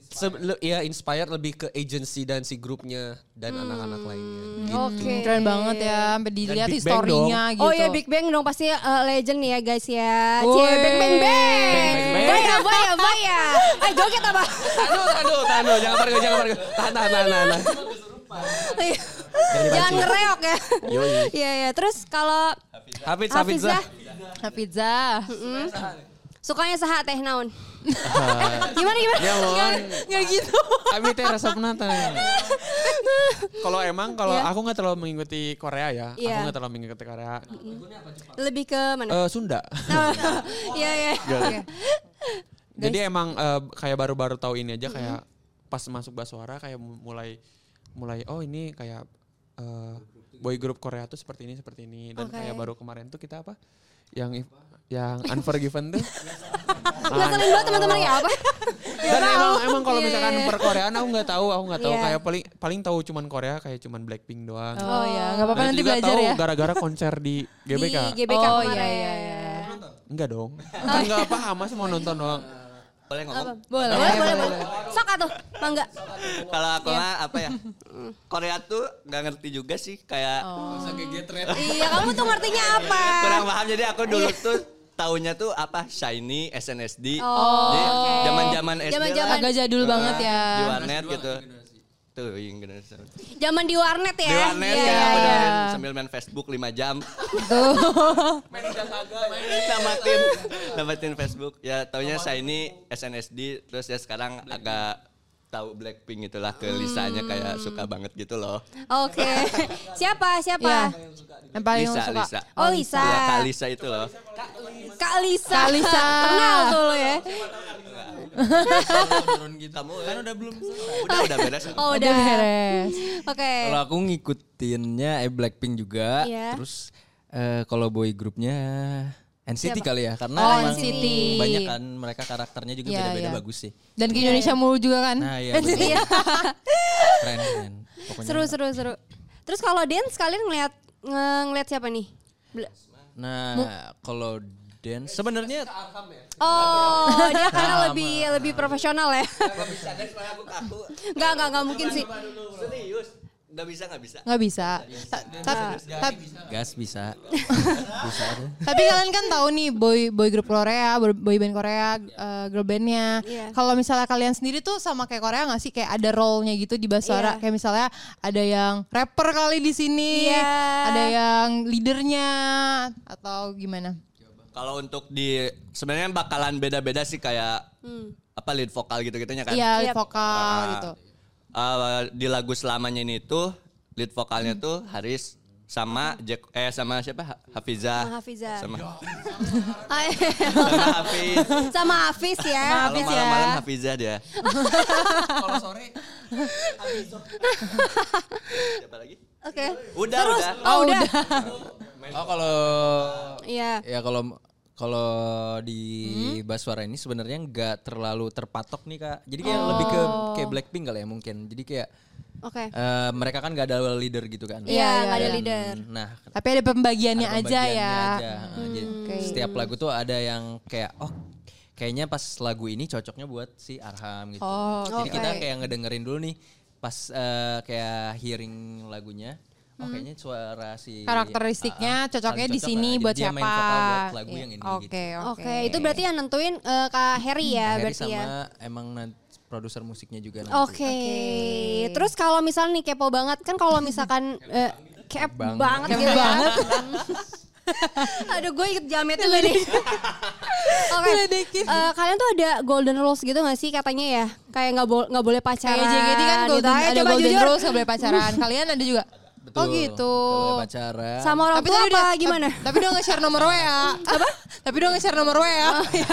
S6: se- le- ya inspire lebih ke agency dan si grupnya dan anak-anak lainnya.
S2: Oke.
S3: Gitu. Keren banget ya, sampai dilihat
S6: Big Bang
S3: historinya gitu.
S2: Oh iya Big Bang dong pasti uh, legend nih ya guys ya.
S3: Woi.
S2: Cie Bang Bang Bang. ya,
S3: Bang,
S4: bang.
S2: Baya baya baya. Eh joget apa?
S6: Aduh, aduh, aduh, jangan pergi, jangan pergi. Tahan, tahan, tahan,
S7: Nah,
S6: tahan. tahan.
S2: Jangan ngereok ya. Iya iya. Terus kalau
S6: Hafiz, Hafiz.
S2: Hafizah
S3: Hafizah.
S2: sukanya saha teh
S3: [LAUGHS]
S2: naon? Eh, gimana gimana?
S4: Ya mohon.
S3: Nggak gitu.
S4: Abi teh resep nata.
S2: [LAUGHS]
S4: Kalau emang kalau aku nggak terlalu mengikuti Korea ya,
S2: Iya.
S4: aku nggak terlalu mengikuti Korea.
S2: Lebih ke mana? [LAUGHS]
S4: Eh Sunda.
S2: Oh, Iya iya. Oke.
S4: Jadi emang eh, kayak baru-baru tahu ini aja kayak pas masuk Baswara kayak mu- mulai mulai oh ini kayak eh, boy group Korea tuh seperti ini seperti ini dan
S2: Oke.
S4: kayak baru kemarin tuh kita apa yang if- yang unforgiven tuh
S2: Ngeselin banget teman-teman [LAUGHS] ya apa?
S4: dan emang emang kalau
S2: Iya,
S4: misalkan
S2: iya, iya.
S4: per Koreaan aku nggak tahu aku nggak tahu
S2: Iya.
S4: kayak paling paling tahu cuman Korea kayak cuman Blackpink doang
S3: Oh ya, nggak
S4: Dan
S3: apa-apa nanti
S4: juga
S3: belajar
S4: tahu
S3: ya.
S4: gara-gara konser di GBK
S2: Di GBK
S3: Oh,
S2: kemarin.
S3: iya, iya, iya.
S4: enggak dong
S2: Oh.
S4: kan nggak paham masa mau nonton doang
S5: Boleh
S2: Apa?
S5: ngomong?
S3: Iya, Boleh.
S2: Boleh, boleh, boleh. Sok atuh, mangga.
S5: Kalau aku
S2: Iya.
S5: mah apa ya?
S2: Hmm.
S5: Korea tuh nggak ngerti juga sih kayak
S2: Oh. Iya, kamu tuh ngertinya apa?
S5: kurang paham jadi aku dulu tuh tahunya tuh apa shiny SNSD
S2: Iya. Oh,
S5: Jadi
S2: oke.
S5: zaman-zaman SD
S2: Zaman-zaman.
S5: lah
S3: Agak jadul banget ya.
S5: di warnet gitu tuh yang gini.
S2: Zaman di warnet ya.
S5: di warnet
S2: Iya,
S5: ya
S2: iya,
S5: aku
S2: iya.
S5: dengerin sambil main Facebook 5 jam [LAUGHS] main ya. olahraga main namatin namatin Facebook ya taunya shiny SNSD terus ya sekarang agak tahu Blackpink itulah ke Lisanya
S2: Hmm.
S5: kayak suka banget gitu loh
S2: Oke. [LAUGHS] Siapa? Siapa?
S3: Iya. Yang paling
S5: Lisa,
S3: suka.
S5: Lisa.
S2: Oh, Lisa.
S5: Ya, Kak Lisa itu loh.
S2: Kak Lisa.
S3: Kak Lisa.
S2: Kenal tuh lo ya.
S5: Kamu kan udah belum Udah, udah beres.
S2: Oh,
S3: Udah
S2: udah.
S3: beres.
S2: Oke.
S7: Kalau aku ngikutinnya eh, Blackpink juga,
S2: Iya.
S7: terus eh, kalau boy grupnya NCT kali ya karena
S3: Oh,
S7: emang
S3: NCT.
S7: banyak kan mereka karakternya juga
S3: Iya,
S7: beda-beda
S3: iya.
S7: bagus sih.
S3: Dan ke Indonesia mulu juga kan.
S7: Nah, iya.
S2: [LAUGHS]
S3: NCT.
S7: bener. Keren, keren. Pokoknya
S2: Seru, seru, seru. Terus kalau dance kalian ngeliat nge- ngeliat siapa nih? Bel-
S7: Nah, kalau dance sebenarnya
S2: Oh, dia karena lebih lebih profesional ya. Enggak, enggak, enggak mungkin sih.
S5: Serius. Nggak bisa, nggak bisa.
S3: Nggak bisa. Ta- ta- ta-
S7: gas bisa. bisa tuh.
S3: Tapi kalian kan tahu nih boy boy grup Korea, boy- boy band Korea, eh, girl bandnya.
S2: Iya.
S3: Kalau misalnya kalian sendiri tuh sama kayak Korea nggak sih? Kayak ada role-nya gitu di Basara.
S2: Iya.
S3: Kayak misalnya ada yang rapper kali di sini,
S2: Iya.
S3: ada yang leadernya atau gimana?
S5: Kalau untuk di sebenarnya bakalan beda-beda sih kayak
S2: Hmm.
S5: apa lead vokal gitu-gitunya kan.
S3: Iya,
S2: Yap.
S3: vokal
S5: Ah,
S3: gitu.
S5: ah, di lagu selamanya ini tuh lead vokalnya tuh Haris sama Jack eh sama siapa Ha- Hafiza
S2: Sama Hafiza.
S5: sama
S2: Ay,
S5: sama Hafiz
S2: [LAUGHS] Sama Hafiz ya.
S5: kalau malam-malam Hafiza dia siapa lagi
S2: Oke.
S5: udah
S2: Terus
S5: udah
S2: oh, udah.
S7: Oh, kalau
S2: [LAUGHS] Iya. Hmm.
S7: ya kalau kalau di Baswara ini sebenarnya nggak terlalu terpatok nih kak. Jadi
S2: Oh.
S7: kayak lebih ke kayak Blackpink kali ya mungkin. Jadi kayak
S2: Oke.
S7: eh, mereka kan nggak ada leader gitu kan.
S2: Iya,
S3: iya,
S2: nggak ada
S7: Dan-
S2: leader.
S7: Nah,
S3: Tapi ada pembagiannya
S7: ada
S3: aja
S7: pembagiannya
S3: ya. Hmm, gitu.
S7: aja. Nah, jadi
S3: Oke.
S7: Setiap lagu tuh ada yang kayak oh kayaknya pas lagu ini cocoknya buat si Arham gitu.
S3: Oh,
S7: Jadi
S2: oke.
S7: kita kayak ngedengerin dulu nih pas eh, kayak hearing lagunya. Oh kayaknya suara si
S3: Hmm. Karakteristiknya
S7: Iya. Ah, ah,
S3: cocoknya
S7: paling
S3: di
S7: cocok
S3: sini
S7: lah.
S3: buat
S7: Dia
S3: siapa? Iya.
S7: main vokal buat lagu yang ini
S3: Oke, Ya,
S7: gitu.
S2: Oke,
S3: oke.
S2: itu berarti yang nentuin eh, Kak Heri ya
S7: Harry
S2: berarti
S7: sama
S2: ya.
S7: emang nan- produser musiknya juga nanti.
S2: Oke. Terus kalau misalnya nih kepo banget kan kalau
S3: [LAUGHS]
S2: misalkan eh, kep banget gitu ya. [LAUGHS] Aduh gue ikut jametnya gue nih. Oke.
S3: Diledekin.
S2: Eh, kalian tuh ada golden rules gitu gak sih katanya ya? Kayak nggak bo- nggak boleh pacaran.
S3: Kayak JKT kan
S2: gitu.
S3: golden,
S2: Ayo,
S3: ada
S2: coba
S3: golden
S2: jujur.
S3: rules nggak boleh
S2: [LAUGHS]
S3: pacaran. Kalian ada juga?
S7: Betul.
S3: Oh gitu.
S7: Nggak boleh pacaran.
S2: Sama orang tua apa
S3: udah-
S2: gimana? Oh,
S3: Tapi udah nge-share nomor
S2: [LAUGHS]
S3: WA. [LAUGHS] Apa? Tapi udah nge-share nomor ya. WA.
S2: iya.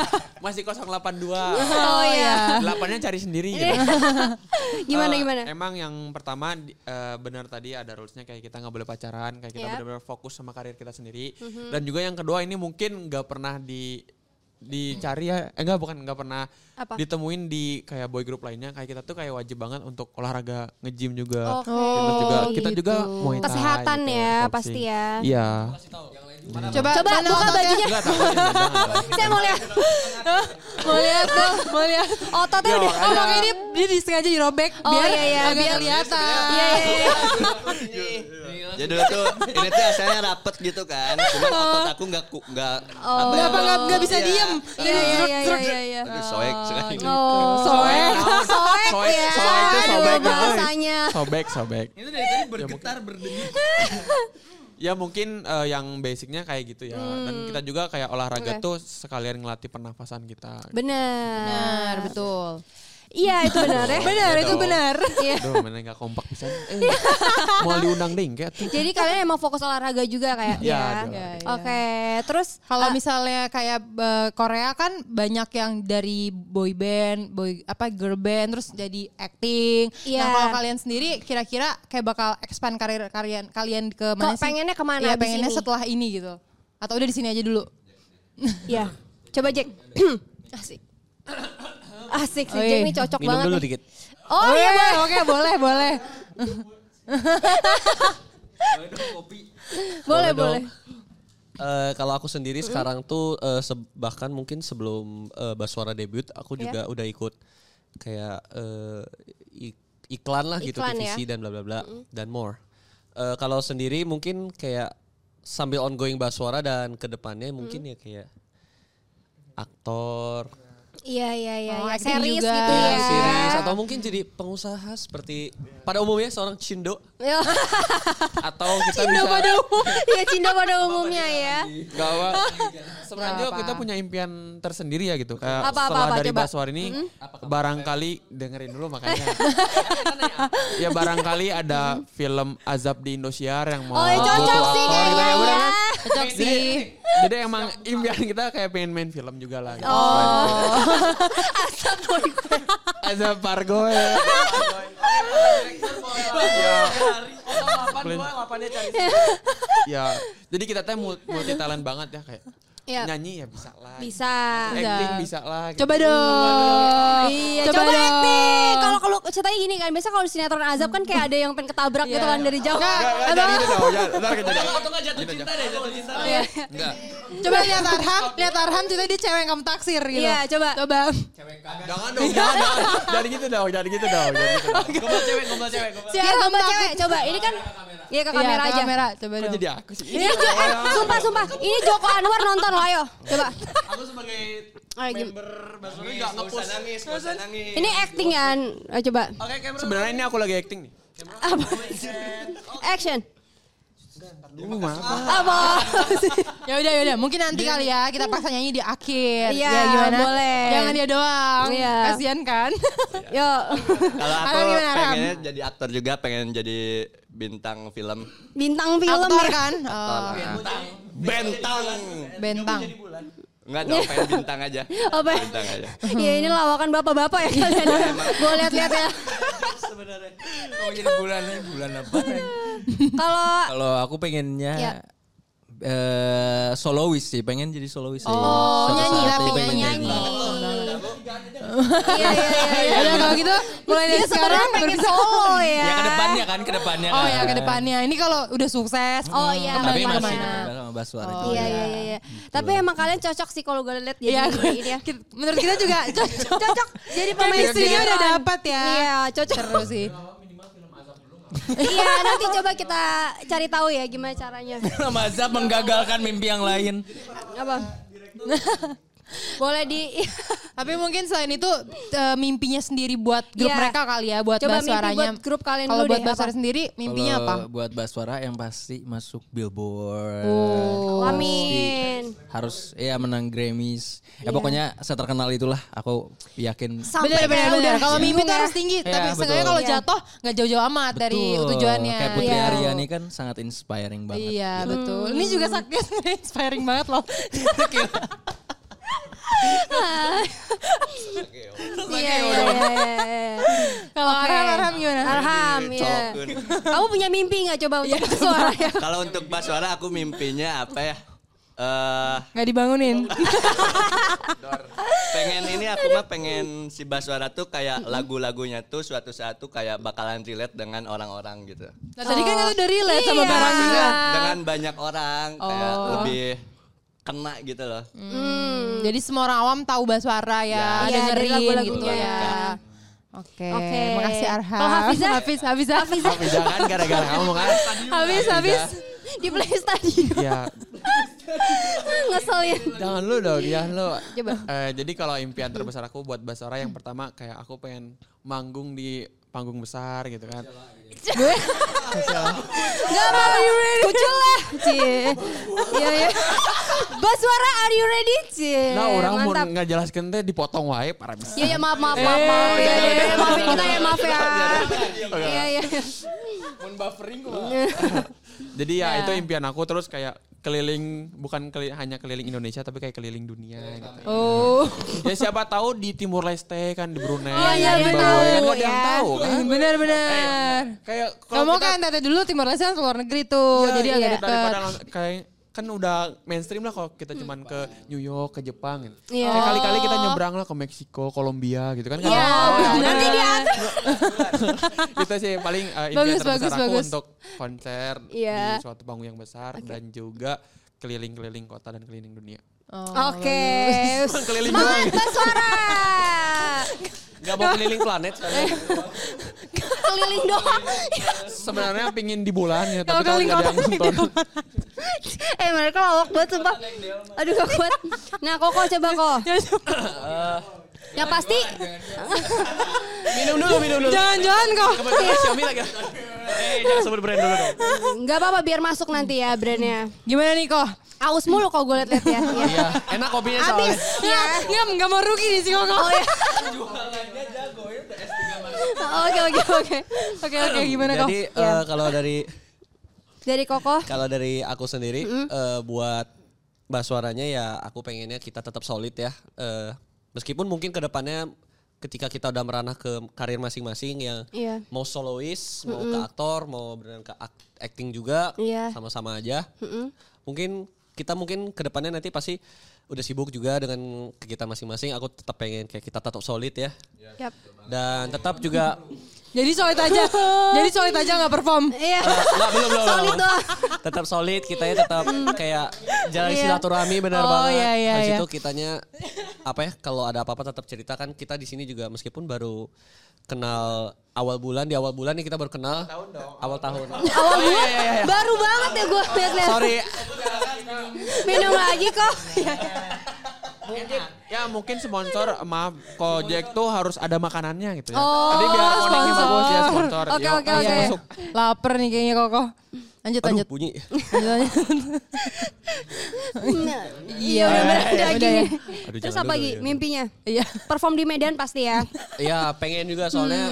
S2: [LAUGHS]
S4: masih 082
S2: Oh iya.
S4: delapannya cari sendiri gitu.
S2: Gimana
S4: Eh,
S2: gimana?
S4: Emang yang pertama di- eh, benar tadi ada rulesnya kayak kita nggak boleh pacaran, kayak kita
S2: Iya. Mhm.
S4: benar-benar fokus sama karir kita sendiri. Dan juga yang kedua ini mungkin nggak pernah di dicari ya, eh, enggak bukan nggak pernah
S2: Apa?
S4: ditemuin di kayak boy group lainnya. Kayak kita tuh kayak wajib banget untuk olahraga nge-gym juga.
S2: Oke. Oh,
S4: Terus juga kita
S3: gitu.
S4: juga Muay Thai
S2: Kesehatan
S4: gitu,
S2: ya,
S4: boxing.
S2: pasti ya.
S4: Iya.
S3: Coba,
S2: Coba
S3: mana
S2: buka
S3: ototnya?
S2: bajunya.
S4: Enggak
S2: [LAUGHS]
S4: tahu. jangan, jangan.
S2: Saya mau lihat.
S3: Mau lihat tuh,
S2: [LAUGHS]
S3: mau lihat.
S2: Ototnya udah.
S3: Oh, makanya dia, dia disengaja dirobek
S2: Oh,
S3: biar
S2: iya, iya,
S3: agak
S2: biar-
S3: kelihatan.
S2: Iya iya iya.
S5: Jadi dulu tuh ini tuh asalnya rapet gitu kan. Cuman otot aku nggak ku- nggak apa ya,
S3: Kenapa Oh. nggak nggak bisa
S5: Iya.
S3: diem?
S2: Iya iya iya iya iya.
S5: Aduh soek sekali.
S2: Oh,
S3: Soalnya
S2: soek
S4: Soek,
S2: ya.
S4: soek tuh sobek,
S2: Aduh,
S4: guys.
S2: bahasanya.
S4: Sobek, sobek.
S6: Itu dari tadi bergetar berdenyut.
S4: Ya mungkin eh, yang basicnya kayak gitu ya. Dan kita juga kayak olahraga
S2: Oke.
S4: tuh sekalian ngelatih pernafasan kita.
S2: Bener.
S3: betul.
S2: Iya itu benar ya.
S3: Benar, itu benar.
S2: Iya.
S4: Gitu. Aduh, mana nggak kompak pisan. Eh, mau diundang deh enggak tuh.
S2: Jadi kalian emang fokus olahraga juga kayak
S4: Iya,
S2: ya.
S4: ada.
S2: Oke, terus ah,
S3: Kalau misalnya kayak eh, Korea kan banyak yang dari boy band, boy apa girl band terus jadi acting. Nah,
S2: Iya.
S3: kalau kalian sendiri kira-kira kayak bakal expand karir kalian kalian ke mana
S2: Kok
S3: sih?
S2: pengennya kemana
S3: Iya,
S2: abis
S3: pengennya
S2: ini?
S3: setelah ini gitu. Atau udah di sini aja dulu.
S2: ya. Coba Jack. [CLEARS THROAT] Asik. Asik sih
S3: Oi.
S2: Jack ini cocok
S6: Minum
S2: banget.
S6: dulu
S2: nih.
S6: dikit.
S2: Oh iya
S3: Oke,
S2: boleh.
S3: Oke, boleh, boleh.
S2: Boleh,
S6: dong.
S2: boleh.
S6: Eh, kalau aku sendiri sekarang tuh eh, se- bahkan mungkin sebelum eh, Baswara debut
S2: Iya.
S6: aku juga udah ikut kayak eh, ik- iklan lah gitu
S2: Iklan ya.
S6: TVC dan bla bla bla dan more. Eh, kalau sendiri mungkin kayak sambil ongoing Baswara dan kedepannya mungkin ya kayak aktor,
S2: Iya, iya, iya.
S3: Oh,
S2: iya.
S3: acting
S2: Series
S3: juga.
S2: gitu
S3: Iya,
S2: ya.
S6: series atau mungkin jadi pengusaha seperti pada umumnya seorang cindo
S2: [LAUGHS]
S6: atau kita bisa Oh, iya.
S2: Iya, cinta pada umumnya ya. [LAUGHS]
S4: Gak apa. Sebenarnya kita punya impian tersendiri ya gitu.
S2: Apa,
S4: Kayak
S2: apa,
S4: setelah
S2: apa,
S4: dari
S2: coba. Hmm?
S4: Baswar ini barangkali dengerin dulu
S2: [LAUGHS]
S4: makanya. ya barangkali ada film Azab di Indosiar yang mau
S2: Oh, ya cocok
S4: butuh
S2: sih
S4: aktor gitu
S2: kayaknya
S4: ya,
S2: ya.
S4: bener kan?
S3: Cocok
S4: Jadi,
S3: sih.
S4: jadi emang impian kita kayak pengen main film juga lah. Gitu. [LAUGHS] Azab Pargo ya. ya. Jadi kita teh mul- multi talent banget ya kayak
S2: Iya.
S4: nyanyi ya bisa lah.
S2: Bisa.
S4: Acting bisa lah. gitu.
S3: Coba dong.
S2: Iya,
S3: Coba
S2: coba,
S3: dong.
S2: acting. Kalau kalau ceritanya gini kan, biasa kalau di sinetron azab kan kayak ada yang pengen ketabrak gitu kan dari jauh.
S3: Iya. Enggak,
S4: Nggak, nggak, jadi itu dong, jangan. Ntar kita jadi.
S2: Iya.
S3: Gitu. Coba lihat Arhan, lihat Arhan ceritanya dia cewek yang kamu taksir gitu.
S2: Iya, coba.
S3: Coba.
S4: Jangan dong, jangan, jangan. Jangan gitu dong, jangan gitu dong. jangan gitu dong.
S2: Biar gambar cewek, coba. Ini kan Iya ke kamera
S3: Iya, ke
S2: aja.
S3: Kamera, coba
S4: Kok
S3: dong.
S4: jadi ya? aku sih?
S2: Ini Jo- eh, sumpah sumpah. Ini Joko Anwar nonton loh, ayo. Coba.
S5: Aku sebagai
S2: Ayo, gim-
S5: Basuri nggak ngepost. Nggak usah nangis, nggak usah nangis.
S2: Ini acting kan. Ayo, coba.
S5: Oke, kamera.
S4: Sebenarnya ini aku lagi acting nih.
S2: Apa? Action.
S4: Dulu mah.
S2: Apa? [LAUGHS]
S3: Ya udah ya udah, mungkin nanti kali ya kita paksa nyanyi di akhir.
S2: Iya,
S3: Ya, gimana?
S2: boleh.
S3: Jangan dia doang.
S2: Iya.
S3: Kasihan kan?
S2: Yuk.
S5: Kalau aku
S3: Aram gimana, Aram?
S5: pengennya jadi aktor juga, pengen jadi bintang film.
S2: Bintang film
S3: Aktor
S2: ya.
S3: kan? Oh,
S5: Bentang.
S3: bentang.
S5: Enggak dong, pengen bintang aja.
S2: Oh, pengen.
S5: Bintang aja.
S2: Iya ini lawakan bapak-bapak ya kalian.
S3: [LAUGHS]
S2: ya. Gue
S3: Oh,
S2: lihat-lihat ya.
S4: Kok jadi bulan ini bulan apa?
S2: Kalau
S7: Kalau aku pengennya
S2: Ya.
S7: eh solois sih, pengen jadi solois sih.
S3: Oh,
S7: Suatu
S3: nyanyi
S7: saat
S3: tapi
S7: ya pengen
S3: nyanyi.
S2: Iya iya iya.
S3: Udah kalau gitu mulai dari
S2: Dia sekarang
S3: sekarang
S2: pengen
S3: berpisah.
S2: solo
S7: Ya ke
S2: ya.
S7: depannya kan, ke depannya
S3: Oh
S7: kan.
S3: ya ke depannya. Ini kalau udah sukses. hmm,
S2: Oh iya.
S7: Tapi
S2: kemana-mana.
S3: Nah,
S7: masih nempel sama Baswar
S5: Oh.
S7: itu.
S2: Iya iya iya. iya. Tapi emang kalian cocok sih kalau gue lihat jadi
S3: Oh, Gitu. Iya,
S2: ini ya.
S3: kita- menurut kita
S2: [LAUGHS]
S3: juga cocok.
S2: Cocok jadi pemain
S3: Chemistry-nya
S2: sinetron.
S3: udah dapat ya.
S2: Iya, cocok.
S3: Seru sih.
S2: Iya, nanti coba kita cari tahu ya gimana caranya.
S7: Mazhab menggagalkan mimpi yang lain.
S2: Apa? Boleh di
S3: Tapi mungkin selain itu eh, mimpinya sendiri buat grup
S2: Iya.
S3: mereka kali ya, buat
S2: Coba
S3: Coba
S2: mimpi
S3: suaranya.
S2: buat grup kalian
S3: Kalau
S2: dulu
S3: buat
S2: deh,
S3: Baswara
S2: apa?
S3: sendiri mimpinya
S7: Kalau
S3: apa?
S7: Buat Baswara yang pasti masuk Billboard.
S2: Amin.
S7: Harus ya menang Grammys. Ya pokoknya seterkenal itulah aku yakin.
S2: Sampai
S3: Bener bener
S2: kayak
S3: bener.
S2: udah
S3: Kalau mimpi
S2: bingung [LAUGHS]
S3: tuh
S2: ya.
S3: harus tinggi,
S7: Iya,
S3: tapi
S7: betul.
S3: seenggaknya kalau
S2: Iya.
S3: jatuh nggak jauh-jauh amat dari
S7: Betul.
S3: tujuannya.
S7: Kayak Putri
S2: Iya.
S7: Aryani kan sangat inspiring banget.
S3: Iya betul. Ini juga sakit inspiring banget loh.
S2: Iya, iya, iya, iya.
S3: Kalau
S2: Oke.
S3: Arham, Arham gimana?
S2: Arham, ya.
S5: Cokun.
S2: Kamu punya mimpi nggak coba untuk suara ya?
S5: Kalau untuk Baswara aku mimpinya apa ya? Eh,
S3: Nggak dibangunin.
S5: pengen ini aku mah pengen si Baswara tuh kayak lagu-lagunya tuh suatu saat tuh kayak bakalan relate dengan orang-orang gitu.
S3: Nah tadi kan itu udah relate sama
S2: Iya.
S3: barangnya.
S5: Dengan banyak orang kayak lebih kena gitu loh.
S3: Jadi semua orang awam tahu Baswara ya,
S2: Iya, dari
S3: dengerin
S2: lagu-lagunya.
S3: gitu ya. Oke,
S2: [LAUGHS] Oke.
S3: makasih Arham.
S2: Kalau ya? Hafiza?
S3: Hafiz, Hafiza.
S2: ya?
S3: Hafiza.
S4: ya, Jangan gara-gara kamu kan.
S3: Habis,
S2: [LAUGHS]
S3: habis.
S2: Di play stadium.
S4: Ya,
S2: [LAUGHS] Ngeselin.
S4: jangan lu dong, ya lu.
S2: Coba.
S4: Eh, jadi kalau impian terbesar aku buat Basora yang pertama kayak aku pengen manggung di panggung besar gitu kan.
S2: Gak mau you ready? Kucul lah. Cie. Iya iya. Bos suara are you ready? Cie.
S4: Nah orang mau
S2: Mantap.
S4: nggak jelaskan teh dipotong wae para bisa.
S2: Iya iya maaf maaf maaf. maaf. Iya iya iya. Maafin kita ya maaf ya. Iya iya.
S4: Jadi ya itu impian aku terus kayak keliling bukan keli- hanya keliling Indonesia tapi kayak keliling dunia gitu.
S3: Oh.
S4: Ya siapa tahu di Timur Leste kan di Brunei.
S2: Oh, iya,
S4: di
S2: benar.
S4: Bali, kan nggak ada yang
S2: Ya.
S4: tahu kan.
S3: Benar-benar.
S4: Kayak
S3: Kamu
S4: kita-
S3: kan tante dulu Timor Leste kan luar negeri tuh.
S4: Iya,
S3: jadi
S4: iya.
S3: agak dekat.
S4: daripada lang- kayak kan udah mainstream lah kalau kita cuman ke New York, ke Jepang gitu.
S2: Iya.
S4: Kayak kali-kali kita nyebrang lah ke Meksiko, Kolombia gitu kan.
S2: Iya. Nanti dia
S4: ya, Itu sih paling uh,
S3: Bagus,
S4: impian terbesar
S3: bagus,
S4: aku
S3: bagus.
S4: untuk konser
S2: Iya.
S4: di suatu panggung yang besar dan juga keliling-keliling kota dan keliling dunia.
S2: Oke.
S4: Keliling
S2: Semangat Bos suara.
S6: Gak mau keliling planet sekarang.
S2: Keliling doang.
S4: Sebenarnya pingin di bulan
S3: Kalau
S4: ya, tapi kalau
S3: keliling
S4: nggak ada yang
S3: kota di
S4: nonton.
S2: eh mereka lawak banget sumpah. Aduh gak kuat. Nah Koko coba
S4: [LAUGHS]
S2: Koko.
S4: Ya,
S2: Eh, Yang pasti.
S6: Minum dulu, minum dulu.
S3: Jangan-jangan kok.
S6: Kebetulan Xiaomi lagi. Eh, jangan sebut brand dulu dong.
S2: Gak apa-apa biar masuk nanti ya brandnya.
S3: [LAUGHS] Gimana nih kok?
S2: Aus mulu kok gue liat-liat ya. Iya.
S6: Iya, enak kopinya soalnya.
S2: Abis. Ya.
S3: Nggak, nggak mau rugi di sini kok.
S2: Oh ya. [LAUGHS] Oke oke oke. Iya.
S3: Oke oke gimana kok?
S6: Jadi eh, kalau dari
S2: Dari Koko.
S6: kalau dari aku sendiri eh, buat Baswaranya ya aku pengennya kita tetap solid ya. Eh, meskipun mungkin kedepannya ketika kita udah meranah ke karir masing-masing yang
S2: Iya.
S6: mau solois, mau ke aktor, mau beneran ke ak- acting juga,
S2: Iya.
S6: sama-sama aja. Mungkin kita mungkin kedepannya nanti pasti udah sibuk juga dengan kegiatan masing-masing. Aku tetap pengen kayak kita tetap solid ya
S2: Yap.
S6: dan tetap juga
S3: Jadi solid aja. Jadi solid aja nggak perform.
S2: Iya.
S6: Enggak, belum, belum, belum.
S2: Solid doang. Hmm.
S6: tetap solid kitanya tetap kayak jalan
S2: Iya.
S6: silaturahmi benar
S3: Oh,
S6: banget
S3: iya, iya,
S6: Habis
S3: iya.
S6: itu kitanya apa ya kalau ada apa-apa tetap ceritakan kita di sini juga meskipun baru kenal awal bulan di awal bulan nih kita baru kenal awal tahun
S4: Oh,
S2: Awal
S6: iya,
S4: iya,
S2: bulan Oh, [LAUGHS] baru banget ya gue liat-liat.
S6: sorry Eh,
S2: Minum lagi kok. Iya.
S4: Mungkin ya mungkin sponsor maaf Kojek tuh harus ada makanannya gitu ya.
S2: Oh,
S4: Jadi biar koneknya
S2: sponsor.
S4: bagus ya sponsor.
S2: Oke,
S4: Yuk,
S2: oke,
S4: masuk,
S2: oke.
S4: masuk.
S3: [LAUGHS] Laper nih kayaknya kok. kok. Lanjut
S6: aduh
S3: lanjut.
S6: bunyi
S3: [LAUGHS]
S6: eh,
S3: Lanjut, lanjut. [LAUGHS]
S2: Nah, Iya udah berat
S3: udah
S2: daging.
S3: ya.
S6: Aduh,
S2: Terus
S6: jangan
S2: apa
S6: dulu,
S2: lagi
S6: ya.
S2: mimpinya?
S3: Iya.
S2: Perform di Medan pasti ya.
S6: ya pengen juga soalnya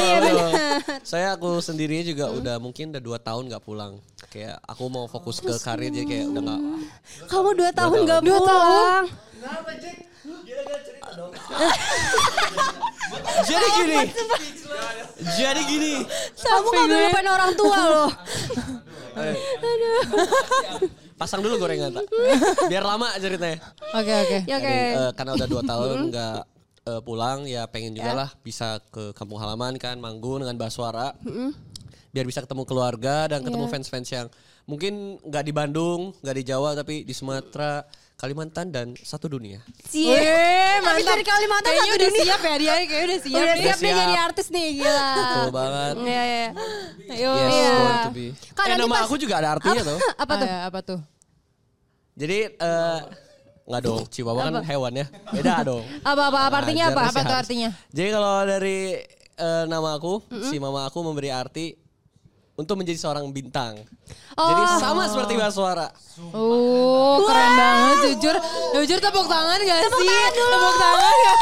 S2: Hmm. Iya,
S6: betul.
S2: benar.
S6: saya aku sendirinya juga udah mungkin udah dua tahun nggak pulang kayak aku mau fokus ke karir jadi kayak udah
S2: [LAUGHS]
S6: nggak
S2: Kamu dua tahun gak
S3: Dua
S2: pulang.
S3: tahun.
S6: jadi gini jadi gini
S2: Kamu gak boleh lupain orang tua loh.
S6: Pasang dulu gorengan, Pak. Biar lama ceritanya.
S3: Oke oke.
S2: Ya oke.
S6: Jadi, eh, karena udah dua tahun
S2: Mm-hmm.
S6: nggak eh, pulang, ya pengen juga lah bisa ke kampung halaman kan, manggung dengan Baswara.
S2: Mm-hmm.
S6: Biar bisa ketemu keluarga dan
S2: Ya.
S6: ketemu fans-fans yang mungkin nggak di Bandung, nggak di Jawa, tapi di Sumatera, Kalimantan dan satu dunia.
S2: Cie.
S3: Wih,
S2: Habis dari Kalimantan
S3: Kayaknya
S2: satu
S3: udah
S2: dunia.
S3: siap ya dia, kayaknya udah siap.
S2: Udah siap
S3: nih.
S6: Udah
S2: nih
S6: siap.
S2: jadi artis nih [LAUGHS] gila.
S6: Betul banget.
S2: Iya iya.
S3: Ayo.
S6: Yes,
S2: Iya.
S6: born to be.
S2: Kan
S6: eh,
S2: nanti
S6: nama
S2: pas- Oh.
S6: aku juga ada artinya tuh.
S2: Apa
S3: Apa
S2: tuh?
S3: tuh? Iya, apa tuh?
S6: Jadi eh nggak dong, Chihuahua kan hewan ya. Beda dong.
S2: Apa apa Eh, apa artinya apa?
S6: Ajar
S3: Apa
S6: sih
S3: tuh
S6: harus.
S3: artinya?
S6: Jadi kalau dari eh, nama aku, si mama aku memberi arti untuk menjadi seorang bintang. Jadi sama seperti Baswara.
S3: Oh, keren banget jujur. Jujur tepuk tangan gak sih? Tepuk tangan gak?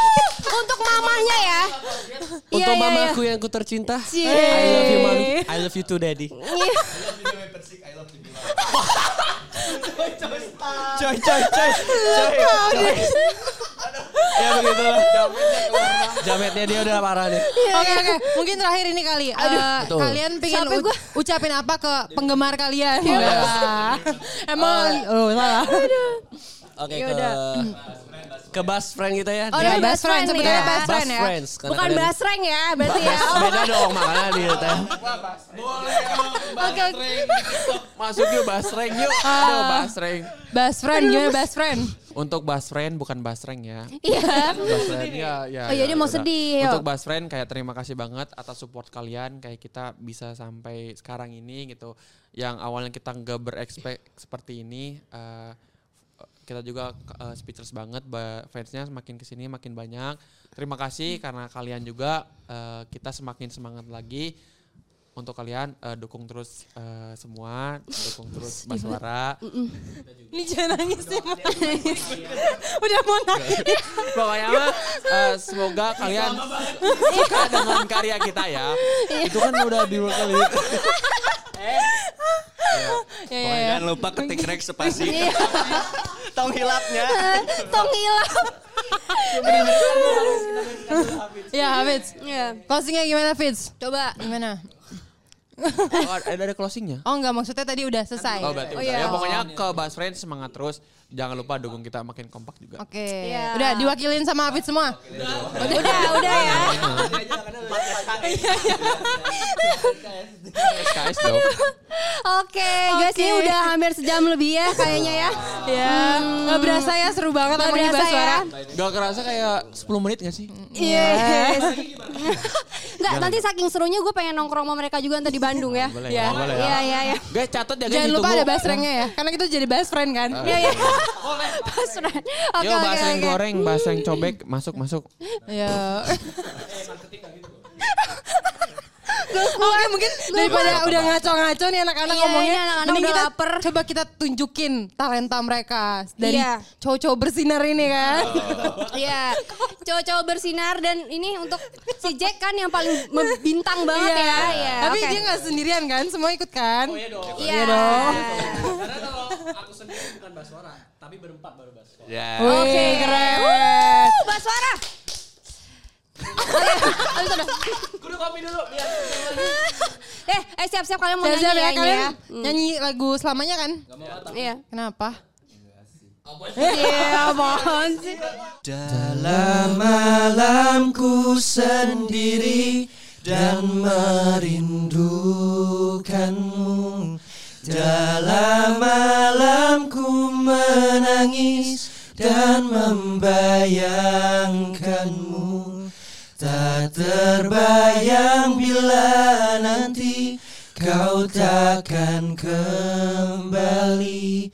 S2: [LAUGHS] Untuk mamahnya ya. Iya,
S6: untuk
S2: iya,
S6: mamaku yang ku tercinta.
S2: Cie.
S6: I love you mami. I love you too daddy.
S2: Iya.
S6: Coy coy coy. coy, coy. ya begitulah. Jametnya dia udah parah nih.
S3: Oke oke, mungkin terakhir ini kali. Eh,
S6: Betul.
S3: kalian pengen
S2: Sampai
S3: u-
S2: gua-
S3: ucapin apa ke penggemar kalian? Wah. Emang oh, salah.
S6: Oke ke ke best friend kita
S2: Ya
S6: ya.
S2: Oh, udah
S3: Ya, best
S2: best
S3: friend,
S2: friend
S3: sebetulnya
S2: ya.
S3: best
S6: Best
S3: friend ya.
S6: friends. Karena
S2: Bukan
S6: kalian-
S2: basreng ya, berarti ya.
S6: Beda dong makanya dia teh.
S2: Oke, oke.
S4: Masuk yuk basreng yuk. Aduh basreng.
S3: Best friend gimana best friend?
S4: Untuk best friend bukan basreng ya.
S2: Iya.
S4: Best friend, ya, ya,
S2: Oh,
S4: ya,
S2: jadi mau
S4: udah.
S2: sedih, yuk.
S4: Untuk best friend kayak terima kasih banget atas support kalian kayak kita bisa sampai sekarang ini gitu. Yang awalnya kita nggak berekspek seperti ini eh, kita juga eh, speechless banget ba- fansnya semakin kesini makin banyak terima kasih karena kalian juga eh, kita semakin semangat lagi untuk kalian eh, dukung terus eh, semua dukung terus Baswara
S3: Ini jangan nangis ya. Udah mau nangis.
S4: pokoknya mah eh, semoga kalian suka dengan karya kita ya itu kan udah di kali
S3: Ya, ya,
S4: kan.
S3: ya.
S5: Jangan lupa ketik rek spasi. Tong hilapnya.
S2: Tong hilang.
S3: Ya, Fitz.
S2: Iya.
S3: Closingnya gimana, Fitz?
S2: Coba.
S3: Gimana?
S4: Oh, ada ada closingnya
S3: Oh enggak, maksudnya tadi udah selesai.
S4: Oh berarti
S2: Oh,
S4: udah.
S2: iya.
S4: Ya pokoknya ke Bas Friends semangat terus. Jangan lupa dukung kita makin kompak juga.
S3: Oke.
S2: Iya.
S3: Udah diwakilin sama Fitz semua.
S2: Udah, udah, ya.
S4: SKS dong.
S2: Oke, guys ini
S3: Oke.
S2: udah hampir sejam lebih ya kayaknya ya.
S3: Ya, nggak berasa ya seru banget
S2: Nggak
S3: namanya
S2: berasa
S3: Baswara.
S2: ya.
S4: Gak kerasa kayak 10 menit gak sih?
S2: Hmm. Iya, Yes. Nggak, nanti saking serunya gue pengen nongkrong sama mereka juga nanti di Bandung ya.
S4: Boleh,
S3: Ya.
S4: boleh ya.
S2: Iya, iya, iya.
S4: Guys catat ya guys.
S3: Jangan lupa
S4: ditunggu.
S3: ada best rank-nya ya, karena kita jadi best friend kan.
S4: Ah.
S2: Iya, iya. Pas Ran. Oke,
S4: Yo
S2: oke,
S4: bahasa yang
S2: oke.
S4: goreng, bahasa yang cobek, masuk masuk.
S3: Iya. Oke mungkin daripada [LAUGHS] udah ngaco-ngaco nih anak-anak
S2: Iya,
S3: ngomongnya
S2: ini anak-anak
S3: mending
S2: udah
S3: kita
S2: lapar.
S3: coba kita tunjukin talenta mereka dari
S2: Iya.
S3: cowok-cowok bersinar ini [LAUGHS] kan.
S2: Iya. Cowok-cowok bersinar dan ini untuk si Jack kan yang paling mem- bintang banget ya. Iya.
S3: Tapi
S2: oke.
S3: dia nggak sendirian kan, semua ikut kan?
S2: Iya.
S3: dong.
S6: Karena kalau aku sendiri bukan Baswara, tapi berempat baru Baswara.
S5: Ya.
S3: Wih,
S2: Oke.
S3: keren.
S2: Uh, Baswara. Habis udah.
S6: Kudu kopi dulu biar.
S2: Eh, eh siap-siap kalian mau nyanyi
S3: Siap-siap ya
S2: ya, ini
S3: kalian
S2: ya.
S3: nyanyi lagu selamanya kan?
S2: Iya.
S3: Kenapa?
S2: Iya, mohon sih.
S6: Dalam malamku sendiri dan merindukanmu. Dalam malamku menangis dan membayangkanmu. Tak terbayang bila nanti kau takkan kembali.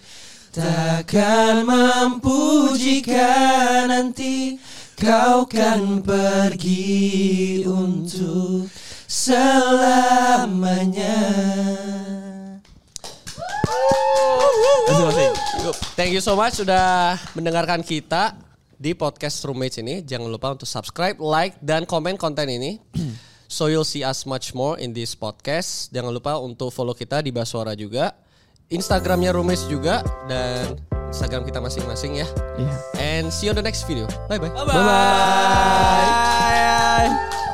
S6: Takkan mampu jika nanti kau kan pergi untuk selamanya. Thank you so much sudah mendengarkan kita di podcast Roommates ini. Jangan lupa untuk subscribe, like, dan komen konten ini. [CLEARS THROAT] So you'll see us much more in this podcast. Jangan lupa untuk follow kita di Baswara juga. Instagramnya Roommates juga. Dan Instagram kita masing-masing ya. And see you on the next video. Bye-bye. Bye-bye.